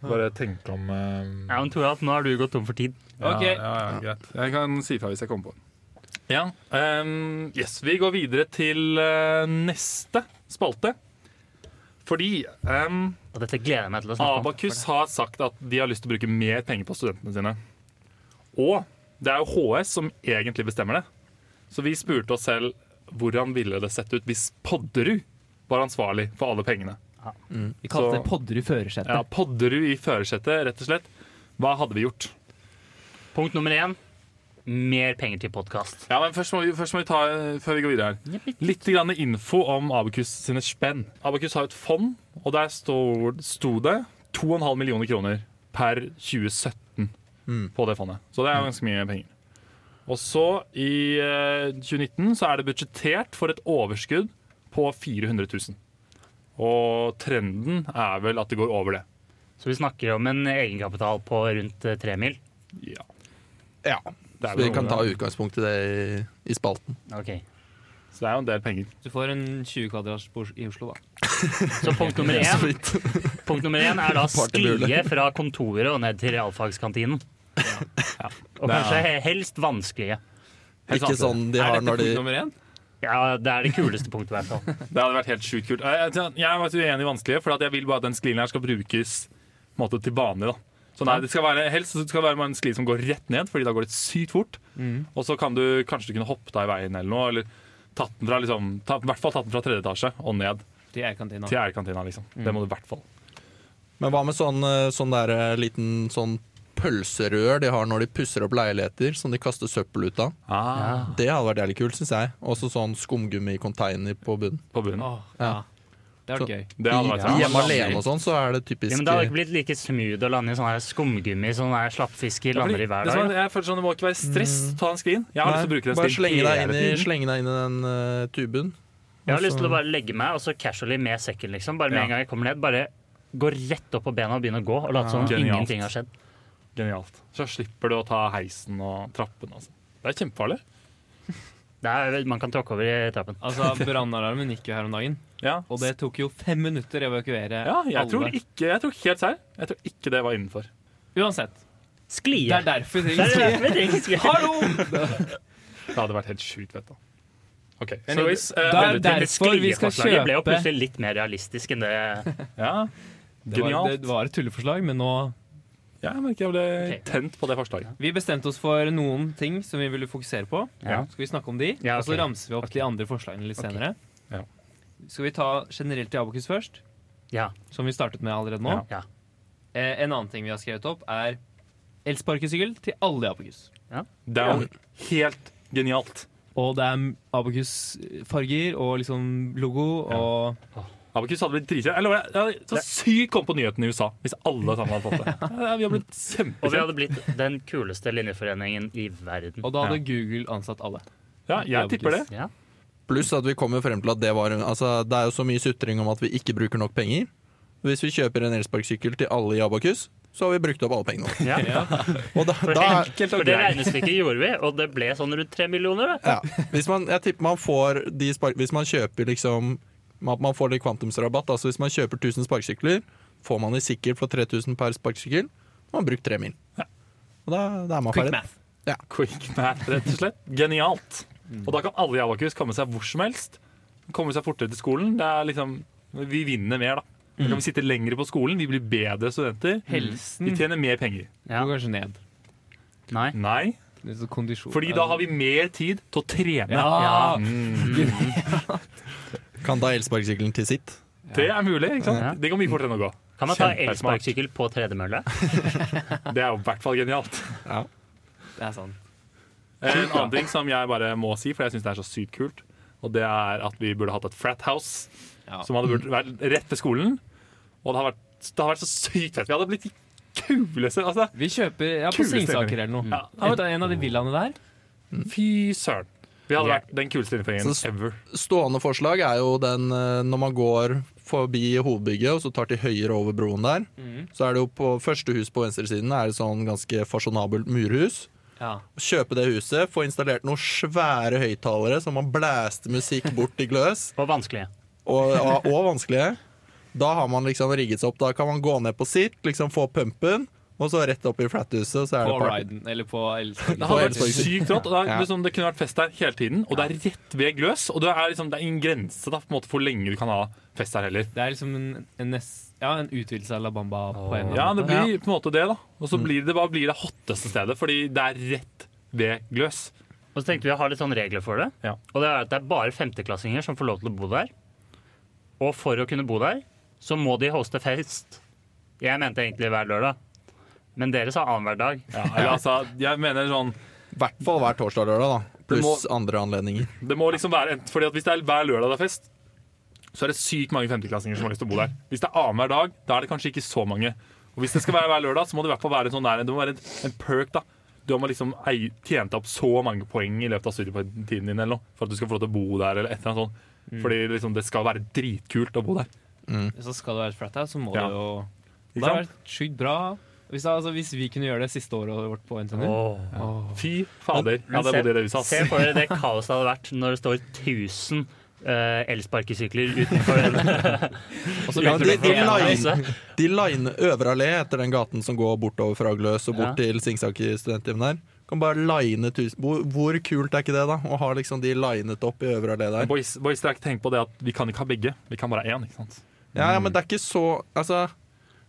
[SPEAKER 3] Bare tenke om eh,
[SPEAKER 5] Ja, men Toralf, nå har du gått tom for tid.
[SPEAKER 3] Ja,
[SPEAKER 2] Ok.
[SPEAKER 3] ja, ja, greit. Jeg kan si fra hvis jeg kommer på den. Ja. ehm, yes, vi går videre til eh, neste spalte. Fordi ehm,
[SPEAKER 5] Og dette gleder jeg meg til å snakke om.
[SPEAKER 3] Abakus har sagt at de har lyst til å bruke mer penger på studentene sine. Og det er jo HS som egentlig bestemmer det. Så vi spurte oss selv hvordan ville det sett ut hvis Podderud var ansvarlig for alle pengene.
[SPEAKER 2] Vi kalte
[SPEAKER 3] Så-
[SPEAKER 2] det podder i førersetet.
[SPEAKER 3] Ja, Podderud i førersetet, rett og slett. Hva hadde vi gjort?
[SPEAKER 5] Punkt nummer én mer penger til podkast.
[SPEAKER 3] Ja, men først må vi, først må vi ta, eh, før vi går videre her, litt grann info om Abakus sine spenn. Abakus har et fond, og der sto, sto det 2,5 millioner kroner per 2017
[SPEAKER 1] Mm.
[SPEAKER 3] på det fondet. Så det er ganske mye penger. Og så i eh, 2019 så er det budsjettert for et overskudd på 400 000. Og trenden er vel at det går over det.
[SPEAKER 5] Så vi snakker om en egenkapital på rundt eh, tre mil.
[SPEAKER 3] Ja.
[SPEAKER 1] Ja.
[SPEAKER 3] Det
[SPEAKER 1] Så
[SPEAKER 3] er
[SPEAKER 1] vi
[SPEAKER 3] vel
[SPEAKER 1] kan
[SPEAKER 3] over
[SPEAKER 1] ta
[SPEAKER 3] det.
[SPEAKER 1] utgangspunkt i det i, i spalten.
[SPEAKER 5] Ok.
[SPEAKER 3] Så det er jo en del penger.
[SPEAKER 2] Du får en 20 kvadrats på Os- i Oslo, da.
[SPEAKER 5] Så punkt
[SPEAKER 3] *laughs*
[SPEAKER 5] nummer
[SPEAKER 1] Så
[SPEAKER 5] én,
[SPEAKER 1] vidt.
[SPEAKER 5] punkt nummer én er da
[SPEAKER 1] Partybule.
[SPEAKER 5] sklie fra kontoret og ned til realfagskantinen. Og
[SPEAKER 3] Det er-
[SPEAKER 5] kanskje he- helst vanskelige.
[SPEAKER 1] Ikke sånn de
[SPEAKER 2] er
[SPEAKER 1] har
[SPEAKER 2] dette
[SPEAKER 1] når de
[SPEAKER 2] punkt nummer én?
[SPEAKER 5] Ja, det er det kuleste punktet, i hvert fall.
[SPEAKER 3] Det hadde vært helt sjukt kult. Jeg, jeg, jeg var uenig i vanskelige, for at jeg vil bare at den sklilen her skal brukes på en måte, til vanlig. da. Så nei, det skal være, Helst så skal det være en skli som går rett ned, fordi da går det sykt fort.
[SPEAKER 1] Mm.
[SPEAKER 3] Og så kan du kanskje du kunne hoppe deg i veien eller noe. eller tatt den fra, liksom, ta, I hvert fall tatt den fra tredje etasje og ned
[SPEAKER 2] Til Eierkantina.
[SPEAKER 3] til eierkantina. liksom. Det må du i hvert fall.
[SPEAKER 1] Men hva med sånn, eh, sånn der eh, liten sånn pølserør de har når de pusser opp leiligheter, som de kaster søppel ut av?
[SPEAKER 3] Ah,
[SPEAKER 1] Det hadde vært jævlig kult, syns jeg. Også sånn skumgummi-container på bunnen.
[SPEAKER 3] På bunnen.
[SPEAKER 2] Åh, ja. Det har
[SPEAKER 1] Så-
[SPEAKER 2] vært gøy.
[SPEAKER 3] Det hadde vært
[SPEAKER 1] I,
[SPEAKER 3] ja.
[SPEAKER 1] Ah. hjemme alene og sånn, så er det typisk
[SPEAKER 5] Ja, men det hadde ikke blitt like smooth å lande i sånn her skumgummi som sånn skumfisker
[SPEAKER 3] Ja, fordi-
[SPEAKER 5] lander i hver
[SPEAKER 3] det som er-
[SPEAKER 5] dag.
[SPEAKER 3] jeg føler sånn, det må ikke være stress å ta den sklien. Jeg har lyst til å bruke den
[SPEAKER 1] Mm. Bare
[SPEAKER 3] sklilen
[SPEAKER 1] slenge deg inn i,
[SPEAKER 3] hele tiden.
[SPEAKER 1] slenge deg inn i den eh, tuben.
[SPEAKER 5] Jeg har lyst til å
[SPEAKER 1] Altså-
[SPEAKER 5] bare legge meg og så casually med sekken, liksom. Bare med
[SPEAKER 3] Ja.
[SPEAKER 5] en gang jeg kommer ned. Bare gå rett opp på bena og begynne å gå og late som
[SPEAKER 3] Ja. Genialt.
[SPEAKER 5] ingenting har skjedd.
[SPEAKER 3] Genialt. Så slipper du å ta heisen og trappene. Altså. Det er kjempefarlig.
[SPEAKER 5] Det er, man kan tråkke over i trappen.
[SPEAKER 2] Altså, Brannalarmen gikk jo her om dagen,
[SPEAKER 3] Ja,
[SPEAKER 2] og det tok jo fem minutter å evakuere
[SPEAKER 3] Ja, jeg
[SPEAKER 2] alle.
[SPEAKER 3] tror ikke jeg tror helt serr. Jeg tror ikke det var innenfor.
[SPEAKER 2] Uansett. Det
[SPEAKER 5] Sklie.
[SPEAKER 2] er derfor vi
[SPEAKER 5] Det
[SPEAKER 2] *laughs* trenger
[SPEAKER 5] er
[SPEAKER 2] skli.
[SPEAKER 5] det vi trenger sklie.
[SPEAKER 2] Hallo!
[SPEAKER 3] Det hadde vært helt sjukt, vet du. Ok, anyways. eh,
[SPEAKER 2] da-
[SPEAKER 3] veldig-
[SPEAKER 2] det er derfor vi skal
[SPEAKER 5] Skriveforslaget ble jo
[SPEAKER 2] kjøpe-
[SPEAKER 5] plutselig litt mer realistisk enn det
[SPEAKER 3] ja,
[SPEAKER 2] Det var,
[SPEAKER 3] Genialt.
[SPEAKER 2] det var et tulleforslag, men nå
[SPEAKER 3] ja, jeg merker jeg ble
[SPEAKER 5] Ok.
[SPEAKER 3] tent på det forslaget.
[SPEAKER 2] Vi bestemte oss for noen ting som vi ville fokusere på.
[SPEAKER 5] Ja.
[SPEAKER 2] Skal vi snakke om de,
[SPEAKER 5] Ja,
[SPEAKER 2] og så
[SPEAKER 5] ok.
[SPEAKER 2] ramser vi opp de andre forslagene litt senere.
[SPEAKER 3] Ja.
[SPEAKER 2] Skal vi ta generelt i Abokus først,
[SPEAKER 5] Ja.
[SPEAKER 2] som vi startet med allerede nå?
[SPEAKER 5] Ja.
[SPEAKER 2] Eh, en annen ting vi har skrevet opp, er elsparkesykkel til alle i Abokus.
[SPEAKER 3] Det er jo helt genialt.
[SPEAKER 2] Og det er Abokus-farger og liksom logo og
[SPEAKER 3] Abakus hadde blitt dritkjent. Eller jeg, jeg, jeg, så sykt kom på nyheten i USA hvis alle sammen
[SPEAKER 2] *laughs*
[SPEAKER 3] hadde fått det. Ja, vi hadde blitt
[SPEAKER 5] Og vi
[SPEAKER 3] kjempekjent.
[SPEAKER 5] hadde blitt den kuleste linjeforeningen i verden.
[SPEAKER 2] Og da hadde Google ansatt alle.
[SPEAKER 3] Ja, jeg tipper det.
[SPEAKER 5] Ja.
[SPEAKER 1] Pluss at vi kommer frem til at det var altså, Det er jo så mye sutring om at vi ikke bruker nok penger. Hvis vi kjøper en elsparkesykkel til alle i Abakus, så har vi brukt opp alle pengene.
[SPEAKER 5] *laughs* Ja.
[SPEAKER 1] Og da,
[SPEAKER 5] For,
[SPEAKER 1] da
[SPEAKER 5] det- for det regnestykket gjorde vi, og det ble sånn rundt tre millioner. da.
[SPEAKER 1] ja. hvis man, Jeg tipper man får de spark... Hvis man kjøper liksom At man får litt kvantumsrabatt. Altså hvis man kjøper 1000 sparkesykler, får man i sikkert for 3000 per sparkesykkel. og Man har brukt 3 mil. Og da, da er man
[SPEAKER 2] Quick
[SPEAKER 1] ferdig.
[SPEAKER 2] math.
[SPEAKER 3] Quick math, rett og slett. Genialt. Og da kan alle i Abakus komme seg hvor som helst. Komme seg fortere til skolen. Det er liksom, vi vinner mer, da. Da kan vi sitte lenger på skolen, vi blir bedre studenter. Vi
[SPEAKER 2] Helsen går
[SPEAKER 3] tjener mer penger.
[SPEAKER 5] Ja.
[SPEAKER 2] kanskje ned.
[SPEAKER 5] Nei.
[SPEAKER 3] Nei,
[SPEAKER 2] Det er så kondisjon.
[SPEAKER 3] fordi da har vi mer tid til å trene. Mm.
[SPEAKER 2] Ja!
[SPEAKER 1] Kan ta elsparkesykkelen til sitt.
[SPEAKER 3] Det er mulig. ikke sant?
[SPEAKER 5] Ja.
[SPEAKER 3] Det går mye fortere enn å gå.
[SPEAKER 5] Kan man ta
[SPEAKER 3] Kjempesmart.
[SPEAKER 5] elsparkesykkel på tredemølle?
[SPEAKER 3] Det er jo i hvert fall genialt.
[SPEAKER 2] Det er sånn. sant.
[SPEAKER 3] Eh, En annen ting som jeg bare må si, for jeg syns det er så sykt kult, og det er at vi burde hatt et frat house
[SPEAKER 2] Ja.
[SPEAKER 3] som hadde burde vært rett ved skolen. Og det har vært, det har vært så sykt fett. Vi hadde blitt de kuleste altså,
[SPEAKER 2] Vi kjøper ja, på
[SPEAKER 3] Kule stemmer.
[SPEAKER 2] Singsaker eller noe.
[SPEAKER 3] Ja.
[SPEAKER 2] Et av- En av de villaene der.
[SPEAKER 3] Fy søren. Vi hadde
[SPEAKER 2] Yeah.
[SPEAKER 3] vært den kuleste innføringen
[SPEAKER 1] Så-
[SPEAKER 3] ever.
[SPEAKER 1] Stående forslag er jo den eh, når man går forbi hovedbygget og så tar til høyre over broen der. Så er det jo på første hus på venstresiden er det sånn ganske fasjonabelt murhus.
[SPEAKER 2] Ja.
[SPEAKER 1] Kjøpe det huset, få installert noen svære høyttalere som man blæster musikk bort i gløs,
[SPEAKER 5] Og vanskelig.
[SPEAKER 1] og, og, og vanskelige. Da har man liksom rigget seg opp. Da kan man gå ned på sitt, liksom få pumpen, og så rett opp i flathuset, og så er
[SPEAKER 2] På
[SPEAKER 1] det party.
[SPEAKER 2] Ryden, eller på
[SPEAKER 3] Det
[SPEAKER 1] På
[SPEAKER 2] Elsparkesykkel.
[SPEAKER 3] hadde vært
[SPEAKER 1] elsparkesykkel.
[SPEAKER 3] sykt rått. og Det, er,
[SPEAKER 1] Ja.
[SPEAKER 3] liksom, det kunne vært fest der hele tiden, og det er rett ved gløs. Og det er, liksom, det er ingen grense da, på en måte, for hvor lenge du kan ha fest der heller.
[SPEAKER 2] Det er liksom en, en, nest, ja, en utvidelse av La Bamba på en eller
[SPEAKER 3] Ja, Mm.
[SPEAKER 2] annen
[SPEAKER 3] det blir på en måte det, da. Og så blir det bare blir det hotteste stedet, fordi det er rett ved gløs.
[SPEAKER 5] Og så tenkte vi å ha litt sånn regler for det.
[SPEAKER 3] Ja.
[SPEAKER 5] Og det er at det er bare femteklassinger som får lov til å bo der. Og for å kunne bo der, så må de hoste fest. Jeg mente egentlig hver lørdag, men dere sa annenhver dag.
[SPEAKER 3] Ja, eller, altså, jeg mener sånn
[SPEAKER 1] I hvert fall hver torsdag og lørdag, da.
[SPEAKER 3] Det må-
[SPEAKER 1] Pluss andre anledninger.
[SPEAKER 3] Det må liksom være ent- Fordi at Hvis det er hver lørdag det er fest, så er det sykt mange femteklassinger som har lyst til å bo der. Hvis det er annenhver dag, da er det kanskje ikke så mange. Og Hvis det skal være hver lørdag, så må det i hvert fall være en sånn der, det må være en, en perk. da Du må liksom ei- tjent opp så mange poeng i løpet av studietiden din eller noe, for at du skal få lov til å bo der. eller et eller annet sånt
[SPEAKER 5] Mm.
[SPEAKER 3] Fordi liksom, det skal være dritkult å bo der.
[SPEAKER 2] Så skal det være et frat house, så må
[SPEAKER 3] Ja.
[SPEAKER 2] det jo
[SPEAKER 3] Ikke
[SPEAKER 2] Det har
[SPEAKER 3] sant?
[SPEAKER 2] vært sjukt bra. Hvis, altså, hvis vi kunne gjøre det siste året vårt på NTNU
[SPEAKER 5] Åh.
[SPEAKER 3] Fy fader. Jeg hadde bodd i det huset.
[SPEAKER 5] se
[SPEAKER 3] ass.
[SPEAKER 5] for dere det kaoset det hadde vært når det står 1000 eh, elsparkesykler utenfor en Og så
[SPEAKER 1] Ja,
[SPEAKER 5] begynner
[SPEAKER 1] de- de
[SPEAKER 5] det å bli
[SPEAKER 1] line-
[SPEAKER 5] en masse.
[SPEAKER 1] *laughs* De liner Øvre allé etter den gaten som går bortover fra Gløs og bort til Singsaker studenthjem der. Kan bare line tusen hvor, hvor kult er ikke det, da? Å ha liksom de linet opp i Øvre allé der.
[SPEAKER 3] Boys, boys dere har ikke tenkt på det at vi kan ikke ha begge. Vi kan bare ha én. ikke sant?
[SPEAKER 1] Ja, ja, men det er ikke så Altså,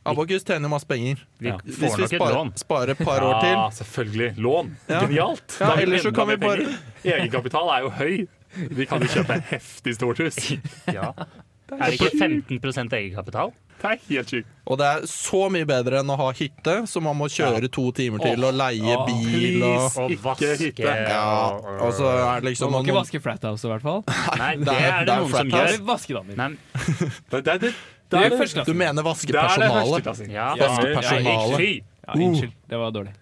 [SPEAKER 1] Abakus tjener jo masse penger.
[SPEAKER 5] Vi
[SPEAKER 3] Ja.
[SPEAKER 1] Hvis
[SPEAKER 5] får
[SPEAKER 1] vi
[SPEAKER 5] nok et
[SPEAKER 1] sparer,
[SPEAKER 5] lån.
[SPEAKER 1] sparer et par år til.
[SPEAKER 3] Ja, selvfølgelig. Lån.
[SPEAKER 1] Ja.
[SPEAKER 3] Genialt.
[SPEAKER 1] Ja,
[SPEAKER 3] Da har
[SPEAKER 1] ellers så
[SPEAKER 3] enda
[SPEAKER 1] kan vi
[SPEAKER 3] mer penger. Egenkapital er jo høy. Vi kan jo kjøpe et heftig stort hus.
[SPEAKER 5] Ja. Er det ikke 15 egenkapital?
[SPEAKER 3] Det er helt sjukt.
[SPEAKER 1] Og det er så mye bedre enn å ha hytte, som man må kjøre to timer til og leie
[SPEAKER 3] Åh,
[SPEAKER 1] bil og
[SPEAKER 3] please,
[SPEAKER 5] Og
[SPEAKER 3] ikke
[SPEAKER 5] vaske
[SPEAKER 3] hytte.
[SPEAKER 1] Ja, og så er det
[SPEAKER 2] Man
[SPEAKER 1] liksom
[SPEAKER 2] må ikke
[SPEAKER 1] noen,
[SPEAKER 2] vaske frat house i hvert *laughs* fall.
[SPEAKER 5] Nei,
[SPEAKER 1] Det
[SPEAKER 5] det
[SPEAKER 1] er-
[SPEAKER 5] er
[SPEAKER 1] det
[SPEAKER 5] det
[SPEAKER 1] er
[SPEAKER 5] noen som
[SPEAKER 1] frat
[SPEAKER 5] gjør.
[SPEAKER 1] house.
[SPEAKER 2] Eller vaskedamer.
[SPEAKER 5] Nei,
[SPEAKER 3] Det, det, det,
[SPEAKER 2] Det
[SPEAKER 3] det
[SPEAKER 2] er
[SPEAKER 3] er det,
[SPEAKER 1] Du
[SPEAKER 2] førsteklassen.
[SPEAKER 1] mener
[SPEAKER 3] det, er det
[SPEAKER 1] vaskepersonalet.
[SPEAKER 3] førsteklassing.
[SPEAKER 5] ja.
[SPEAKER 3] Ja,
[SPEAKER 1] Personalet.
[SPEAKER 5] Ja, ikke fy.
[SPEAKER 2] Ja, unnskyld, det var dårlig.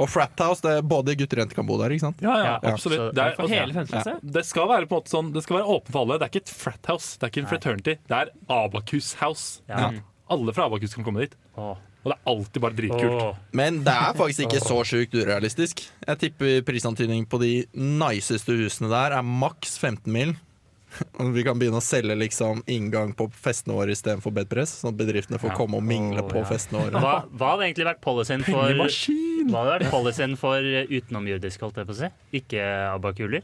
[SPEAKER 1] Og frathouse, det er både gutter og jenter kan bo der, ikke sant?
[SPEAKER 3] Ja, ja,
[SPEAKER 5] Ja,
[SPEAKER 3] absolutt.
[SPEAKER 5] så-
[SPEAKER 3] Det, er,
[SPEAKER 2] For
[SPEAKER 3] altså,
[SPEAKER 2] hele femte klasse?
[SPEAKER 3] det skal være på en måte sånn Det skal være åpen for alle. Det er ikke et frat house, det er ikke en fraternity. Det er Abakus House.
[SPEAKER 5] Ja.
[SPEAKER 3] Alle fra Abakus kan komme dit.
[SPEAKER 5] Åh.
[SPEAKER 3] Og det er alltid bare dritkult.
[SPEAKER 5] Åh.
[SPEAKER 1] Men det er faktisk ikke så sjukt urealistisk. Jeg tipper prisantydning på de niceste husene der er maks 15 mil. *laughs* Og Vi kan begynne å selge liksom inngang på festene våre istedenfor bedpress, sånn at bedriftene får komme og mingle
[SPEAKER 5] Å,
[SPEAKER 1] på
[SPEAKER 5] ja. *laughs*
[SPEAKER 1] festene våre.
[SPEAKER 5] Hva, hva hadde egentlig vært policyen for
[SPEAKER 3] Pengemaskin! Medisin!
[SPEAKER 5] Hva hadde vært policyen for eh, utenomjordisk, holdt jeg på å si? Ikke abbakuler?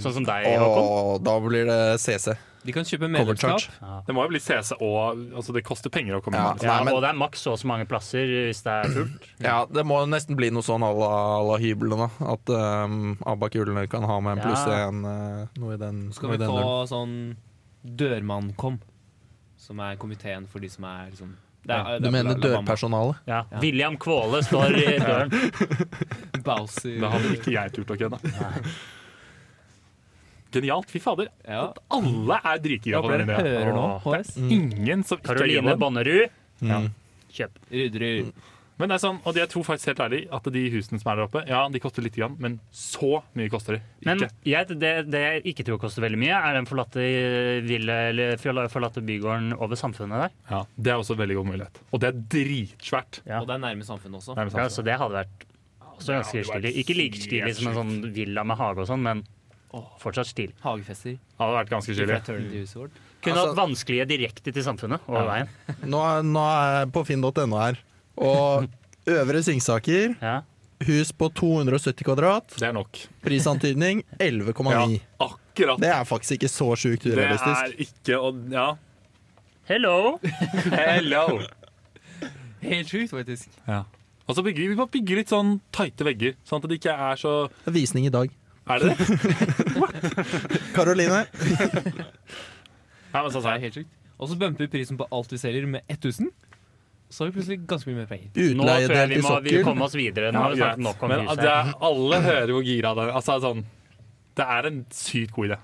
[SPEAKER 5] Sånn som deg, Håkon?
[SPEAKER 1] Og da blir det CC.
[SPEAKER 2] De kan kjøpe
[SPEAKER 1] Cover charge.
[SPEAKER 2] medlemskap.
[SPEAKER 3] Det må jo bli CC og altså Det koster penger å komme
[SPEAKER 1] Ja.
[SPEAKER 3] inn.
[SPEAKER 5] Ja,
[SPEAKER 1] Nei, men-
[SPEAKER 5] og det er maks så og så mange plasser hvis det er fullt.
[SPEAKER 3] *clears throat*
[SPEAKER 1] Ja, det må jo nesten bli noe sånn à la, à la hyblene. At um, abbakulene kan ha med en pluss
[SPEAKER 5] Ja.
[SPEAKER 1] en eh, noe i den.
[SPEAKER 2] Skal
[SPEAKER 1] noe i
[SPEAKER 2] vi
[SPEAKER 1] den
[SPEAKER 2] få
[SPEAKER 1] duren.
[SPEAKER 2] sånn dørmannkom, som er komiteen for de som er liksom det er,
[SPEAKER 1] Du
[SPEAKER 2] det er
[SPEAKER 1] mener
[SPEAKER 2] Alabama.
[SPEAKER 1] dørpersonalet?
[SPEAKER 5] Ja. William Kvåle
[SPEAKER 3] *laughs*
[SPEAKER 5] står i døren.
[SPEAKER 3] Det
[SPEAKER 2] Bowser.
[SPEAKER 3] hadde ikke jeg turt å kødde. Genialt. Fy fader.
[SPEAKER 2] Ja.
[SPEAKER 3] Alle er
[SPEAKER 2] Jeg
[SPEAKER 3] dritgira på
[SPEAKER 2] håper
[SPEAKER 3] den
[SPEAKER 2] dere
[SPEAKER 3] ideen.
[SPEAKER 2] hører nå,
[SPEAKER 3] Åh,
[SPEAKER 2] HS.
[SPEAKER 3] det er Ingen som ikke er gira på
[SPEAKER 5] Karoline
[SPEAKER 3] den.
[SPEAKER 5] Bonnerud.
[SPEAKER 1] Mm.
[SPEAKER 5] Kjøp.
[SPEAKER 2] Rydderud.
[SPEAKER 3] Men det er sånn, og jeg tror faktisk helt ærlig at de husene som er der oppe, ja, de koster litt, grann, men så mye koster de ikke.
[SPEAKER 5] Men jeg, det, det jeg ikke tror koster veldig mye, er den forlatte, eh, ville, eller forla- forlatte bygården over samfunnet der.
[SPEAKER 3] ja, det er også en veldig god mulighet. Og det er dritsvært.
[SPEAKER 5] Ja.
[SPEAKER 2] Og det er nærme samfunnet også.
[SPEAKER 3] Nærmest
[SPEAKER 5] Ja,
[SPEAKER 3] altså.
[SPEAKER 5] så det hadde vært også ganske
[SPEAKER 3] det hadde vært
[SPEAKER 5] stilig. Ikke like stilig som en sånn villa med hage og sånn, men fortsatt stilig.
[SPEAKER 2] Hagefester.
[SPEAKER 3] Det hadde vært ganske
[SPEAKER 2] Fra
[SPEAKER 3] chilly.
[SPEAKER 2] Eternity Resort.
[SPEAKER 5] Kunne
[SPEAKER 1] Altså-
[SPEAKER 5] hatt vanskelige direkte til samfunnet over veien.
[SPEAKER 1] Nå, er- nå er jeg på finn.no her. Og Øvre Singsaker,
[SPEAKER 5] Ja.
[SPEAKER 1] hus på 270 kvadrat.
[SPEAKER 3] Det er nok.
[SPEAKER 1] Prisantydning 11,9.
[SPEAKER 3] Ja, akkurat.
[SPEAKER 1] Det er faktisk ikke så sjukt
[SPEAKER 3] Det
[SPEAKER 1] urealistisk.
[SPEAKER 3] er ikke å Ja.
[SPEAKER 5] Hello!
[SPEAKER 3] Hello!
[SPEAKER 2] Helt sjukt, faktisk.
[SPEAKER 3] Ja. Og så bygger vi, vi bare bygger litt sånn tighte vegger, sånn at det ikke er så
[SPEAKER 1] Det er Visning i dag.
[SPEAKER 3] Er det det?
[SPEAKER 1] Karoline,
[SPEAKER 3] Nei, men sånn
[SPEAKER 2] Det er
[SPEAKER 3] sånn.
[SPEAKER 2] helt sjukt. Og så bumper vi prisen på alt vi selger med 1000. Så har vi plutselig ganske mye mer penger.
[SPEAKER 5] *laughs* Nå tror jeg
[SPEAKER 1] utleiedel
[SPEAKER 5] vi
[SPEAKER 1] i
[SPEAKER 5] må vi
[SPEAKER 1] sokkel.
[SPEAKER 5] komme oss videre. Nå
[SPEAKER 3] Ja,
[SPEAKER 5] har vi snakket nok
[SPEAKER 3] greit.
[SPEAKER 5] om
[SPEAKER 3] Men altså,
[SPEAKER 5] huset.
[SPEAKER 3] det er, alle hører hvor gira det er. Altså, sånn, det er en sykt god idé.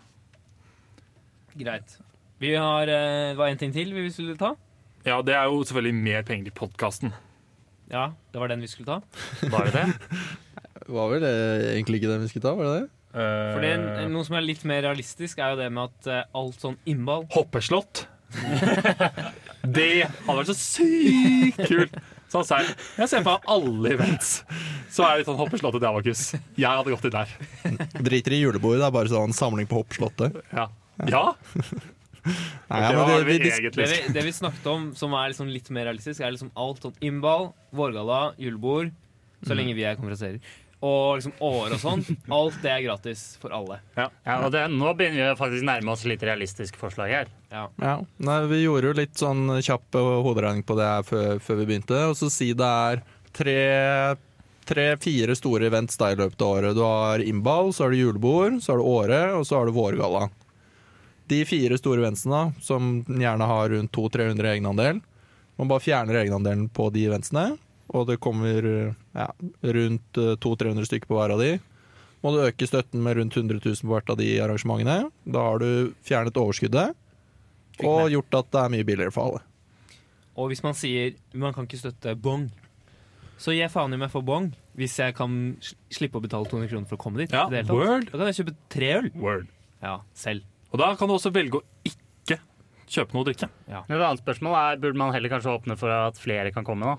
[SPEAKER 2] Greit. Vi har eh, var en ting til vi skulle ta.
[SPEAKER 3] Ja, det er jo selvfølgelig mer penger til *laughs* podkasten.
[SPEAKER 2] Ja, det var den vi skulle ta.
[SPEAKER 5] Bare det.
[SPEAKER 1] Var vel det egentlig ikke det vi skulle ta? var det det?
[SPEAKER 3] Eh,
[SPEAKER 2] For det, er noe som er litt mer realistisk, er jo det med at eh, alt sånn innball
[SPEAKER 3] Hoppeslott.
[SPEAKER 2] *laughs*
[SPEAKER 3] det hadde vært så sykt kult. Sånn serr. Jeg ser for meg alle events. Så er det litt sånn hoppeslottet til Abakus. Jeg hadde gått inn der.
[SPEAKER 1] Driter i julebord, det er bare sånn samling på hoppslottet.
[SPEAKER 3] Ja. ja.
[SPEAKER 1] Nei,
[SPEAKER 3] Det
[SPEAKER 1] ja, men
[SPEAKER 3] var
[SPEAKER 1] vi,
[SPEAKER 3] vi
[SPEAKER 1] vi,
[SPEAKER 3] egentlig
[SPEAKER 2] det vi, det vi snakket om som er liksom litt mer realistisk, er liksom alt sånn innball, vårgalla, julebord, så
[SPEAKER 3] Mm.
[SPEAKER 2] lenge vi er konferanserer, og liksom år og sånn.
[SPEAKER 3] *laughs*
[SPEAKER 2] Alt det er gratis for alle.
[SPEAKER 5] Ja, og det, nå begynner vi faktisk å nærme oss litt realistisk forslag her.
[SPEAKER 2] Ja.
[SPEAKER 1] Ja. Nei, vi gjorde jo litt sånn kjapp eh, hoderegning på det her før, før vi begynte. Og så si det er tre- tre-fire store events der i løpet av året. Du har innball, så har du julebord, så har du Åre, og så har du Vårgalla. De fire store eventsene, som gjerne har rundt 200-300 egenandel, man bare fjerner egenandelen på de eventsene, og det kommer eh, ja, rundt eh, 200-300 stykker på hver av de. Må du øke støtten med rundt 100 000 på hvert av de arrangementene. Da har du fjernet overskuddet. Og gjort at det er mye billigere for alle.
[SPEAKER 2] Og hvis man sier man kan ikke støtte bong, så gir jeg faen i meg for bong hvis jeg kan sl- slippe å betale 200 kroner for å komme dit.
[SPEAKER 3] Ja,
[SPEAKER 2] i det hele tatt.
[SPEAKER 3] word.
[SPEAKER 2] Da kan jeg kjøpe tre øl.
[SPEAKER 3] Word.
[SPEAKER 2] Ja, selv.
[SPEAKER 3] Og da kan du også velge å ikke kjøpe noe å drikke.
[SPEAKER 5] Men Et annet spørsmål er burde man heller kanskje åpne for at flere kan komme. da?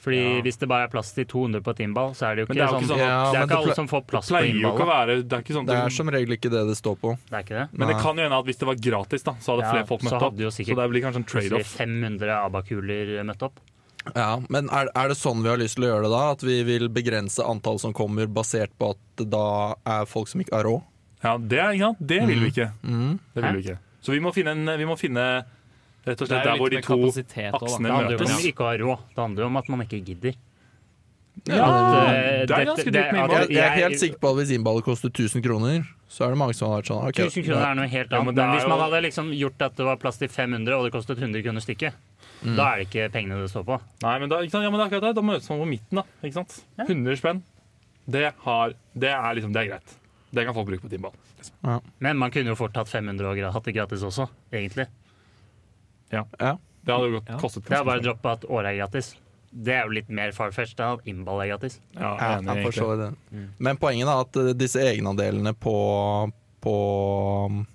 [SPEAKER 5] Fordi
[SPEAKER 2] Ja.
[SPEAKER 5] Hvis det bare er plass til 200 på et innball, så er det jo
[SPEAKER 3] Men
[SPEAKER 5] ikke,
[SPEAKER 3] det er jo ikke
[SPEAKER 5] sånn,
[SPEAKER 3] sånn at-
[SPEAKER 5] det
[SPEAKER 1] Ja,
[SPEAKER 5] er
[SPEAKER 1] men
[SPEAKER 5] ikke
[SPEAKER 1] det
[SPEAKER 5] alle
[SPEAKER 1] ple-
[SPEAKER 5] som får plass på
[SPEAKER 3] Pleier jo ikke å
[SPEAKER 5] innballet.
[SPEAKER 3] være Det er ikke sånn
[SPEAKER 1] Det
[SPEAKER 3] at
[SPEAKER 1] er
[SPEAKER 3] du-
[SPEAKER 1] som regel ikke det det står på.
[SPEAKER 5] Det er ikke det.
[SPEAKER 3] Men det
[SPEAKER 1] Nei.
[SPEAKER 3] kan jo hende at hvis det var gratis, da, så hadde
[SPEAKER 5] Ja,
[SPEAKER 3] flere folk
[SPEAKER 5] så
[SPEAKER 3] møtt opp.
[SPEAKER 5] hadde jo
[SPEAKER 3] Så
[SPEAKER 5] sikkert-
[SPEAKER 3] det blir kanskje en
[SPEAKER 5] Plutselig
[SPEAKER 3] trade-off.
[SPEAKER 5] 500 abakuler eh, møtt opp.
[SPEAKER 1] Ja, Men er, er det sånn vi har lyst til å gjøre det da? At vi vil begrense antall som kommer, basert på at det da er folk som ikke har råd?
[SPEAKER 3] Ja, det, er- ikke sant? det vil vi ikke.
[SPEAKER 1] Mm.
[SPEAKER 3] Det vil vi ikke. Så vi må finne, en, vi må finne
[SPEAKER 2] Det
[SPEAKER 3] rett og slett
[SPEAKER 2] er jo
[SPEAKER 3] der hvor
[SPEAKER 2] litt
[SPEAKER 3] de
[SPEAKER 2] med
[SPEAKER 3] to
[SPEAKER 2] kapasitet også,
[SPEAKER 3] aksene
[SPEAKER 5] Det handler jo ikke om
[SPEAKER 3] møtes.
[SPEAKER 5] ikke å ha råd, det handler jo om at man ikke gidder.
[SPEAKER 3] Ja,
[SPEAKER 5] det-
[SPEAKER 3] det er
[SPEAKER 5] dette-
[SPEAKER 3] ganske
[SPEAKER 5] det
[SPEAKER 3] dyrt med
[SPEAKER 5] er-
[SPEAKER 3] innhold.
[SPEAKER 1] Jeg, jeg er
[SPEAKER 5] Jeg-
[SPEAKER 1] helt sikker på at hvis innballet koster 1000 kroner, så er det mange som har vært sånn ok,
[SPEAKER 5] 1000 kroner er noe helt
[SPEAKER 3] Ja, men
[SPEAKER 5] annet.
[SPEAKER 3] det
[SPEAKER 5] Men
[SPEAKER 3] er
[SPEAKER 5] hvis
[SPEAKER 3] jo-
[SPEAKER 5] man hadde liksom gjort at det var plass til 500, og det kostet 100 kroner stykket,
[SPEAKER 3] Mm.
[SPEAKER 5] da er det ikke pengene det står på.
[SPEAKER 3] Nei, men da, ikke sant? Ja, men det er akkurat det. Da møtes man på midten, da. Ikke sant? 100 spenn. Det, har, det, er liksom, det er greit. Det kan folk bruke på timball.
[SPEAKER 5] Men man kunne jo fort hatt 500 og gra- hatt det gratis også, egentlig.
[SPEAKER 1] Ja.
[SPEAKER 3] Det hadde jo godt
[SPEAKER 2] Ja.
[SPEAKER 3] kostet
[SPEAKER 5] Det er bare å
[SPEAKER 3] ganske mye.
[SPEAKER 5] droppe at året er gratis. Det er jo litt mer farfetch enn at innball er gratis.
[SPEAKER 3] Ja,
[SPEAKER 1] Ja,
[SPEAKER 3] jeg er enig,
[SPEAKER 1] jeg
[SPEAKER 3] egentlig. Mm.
[SPEAKER 1] forstår det. Men poenget er at eh, disse egenandelene på, på um,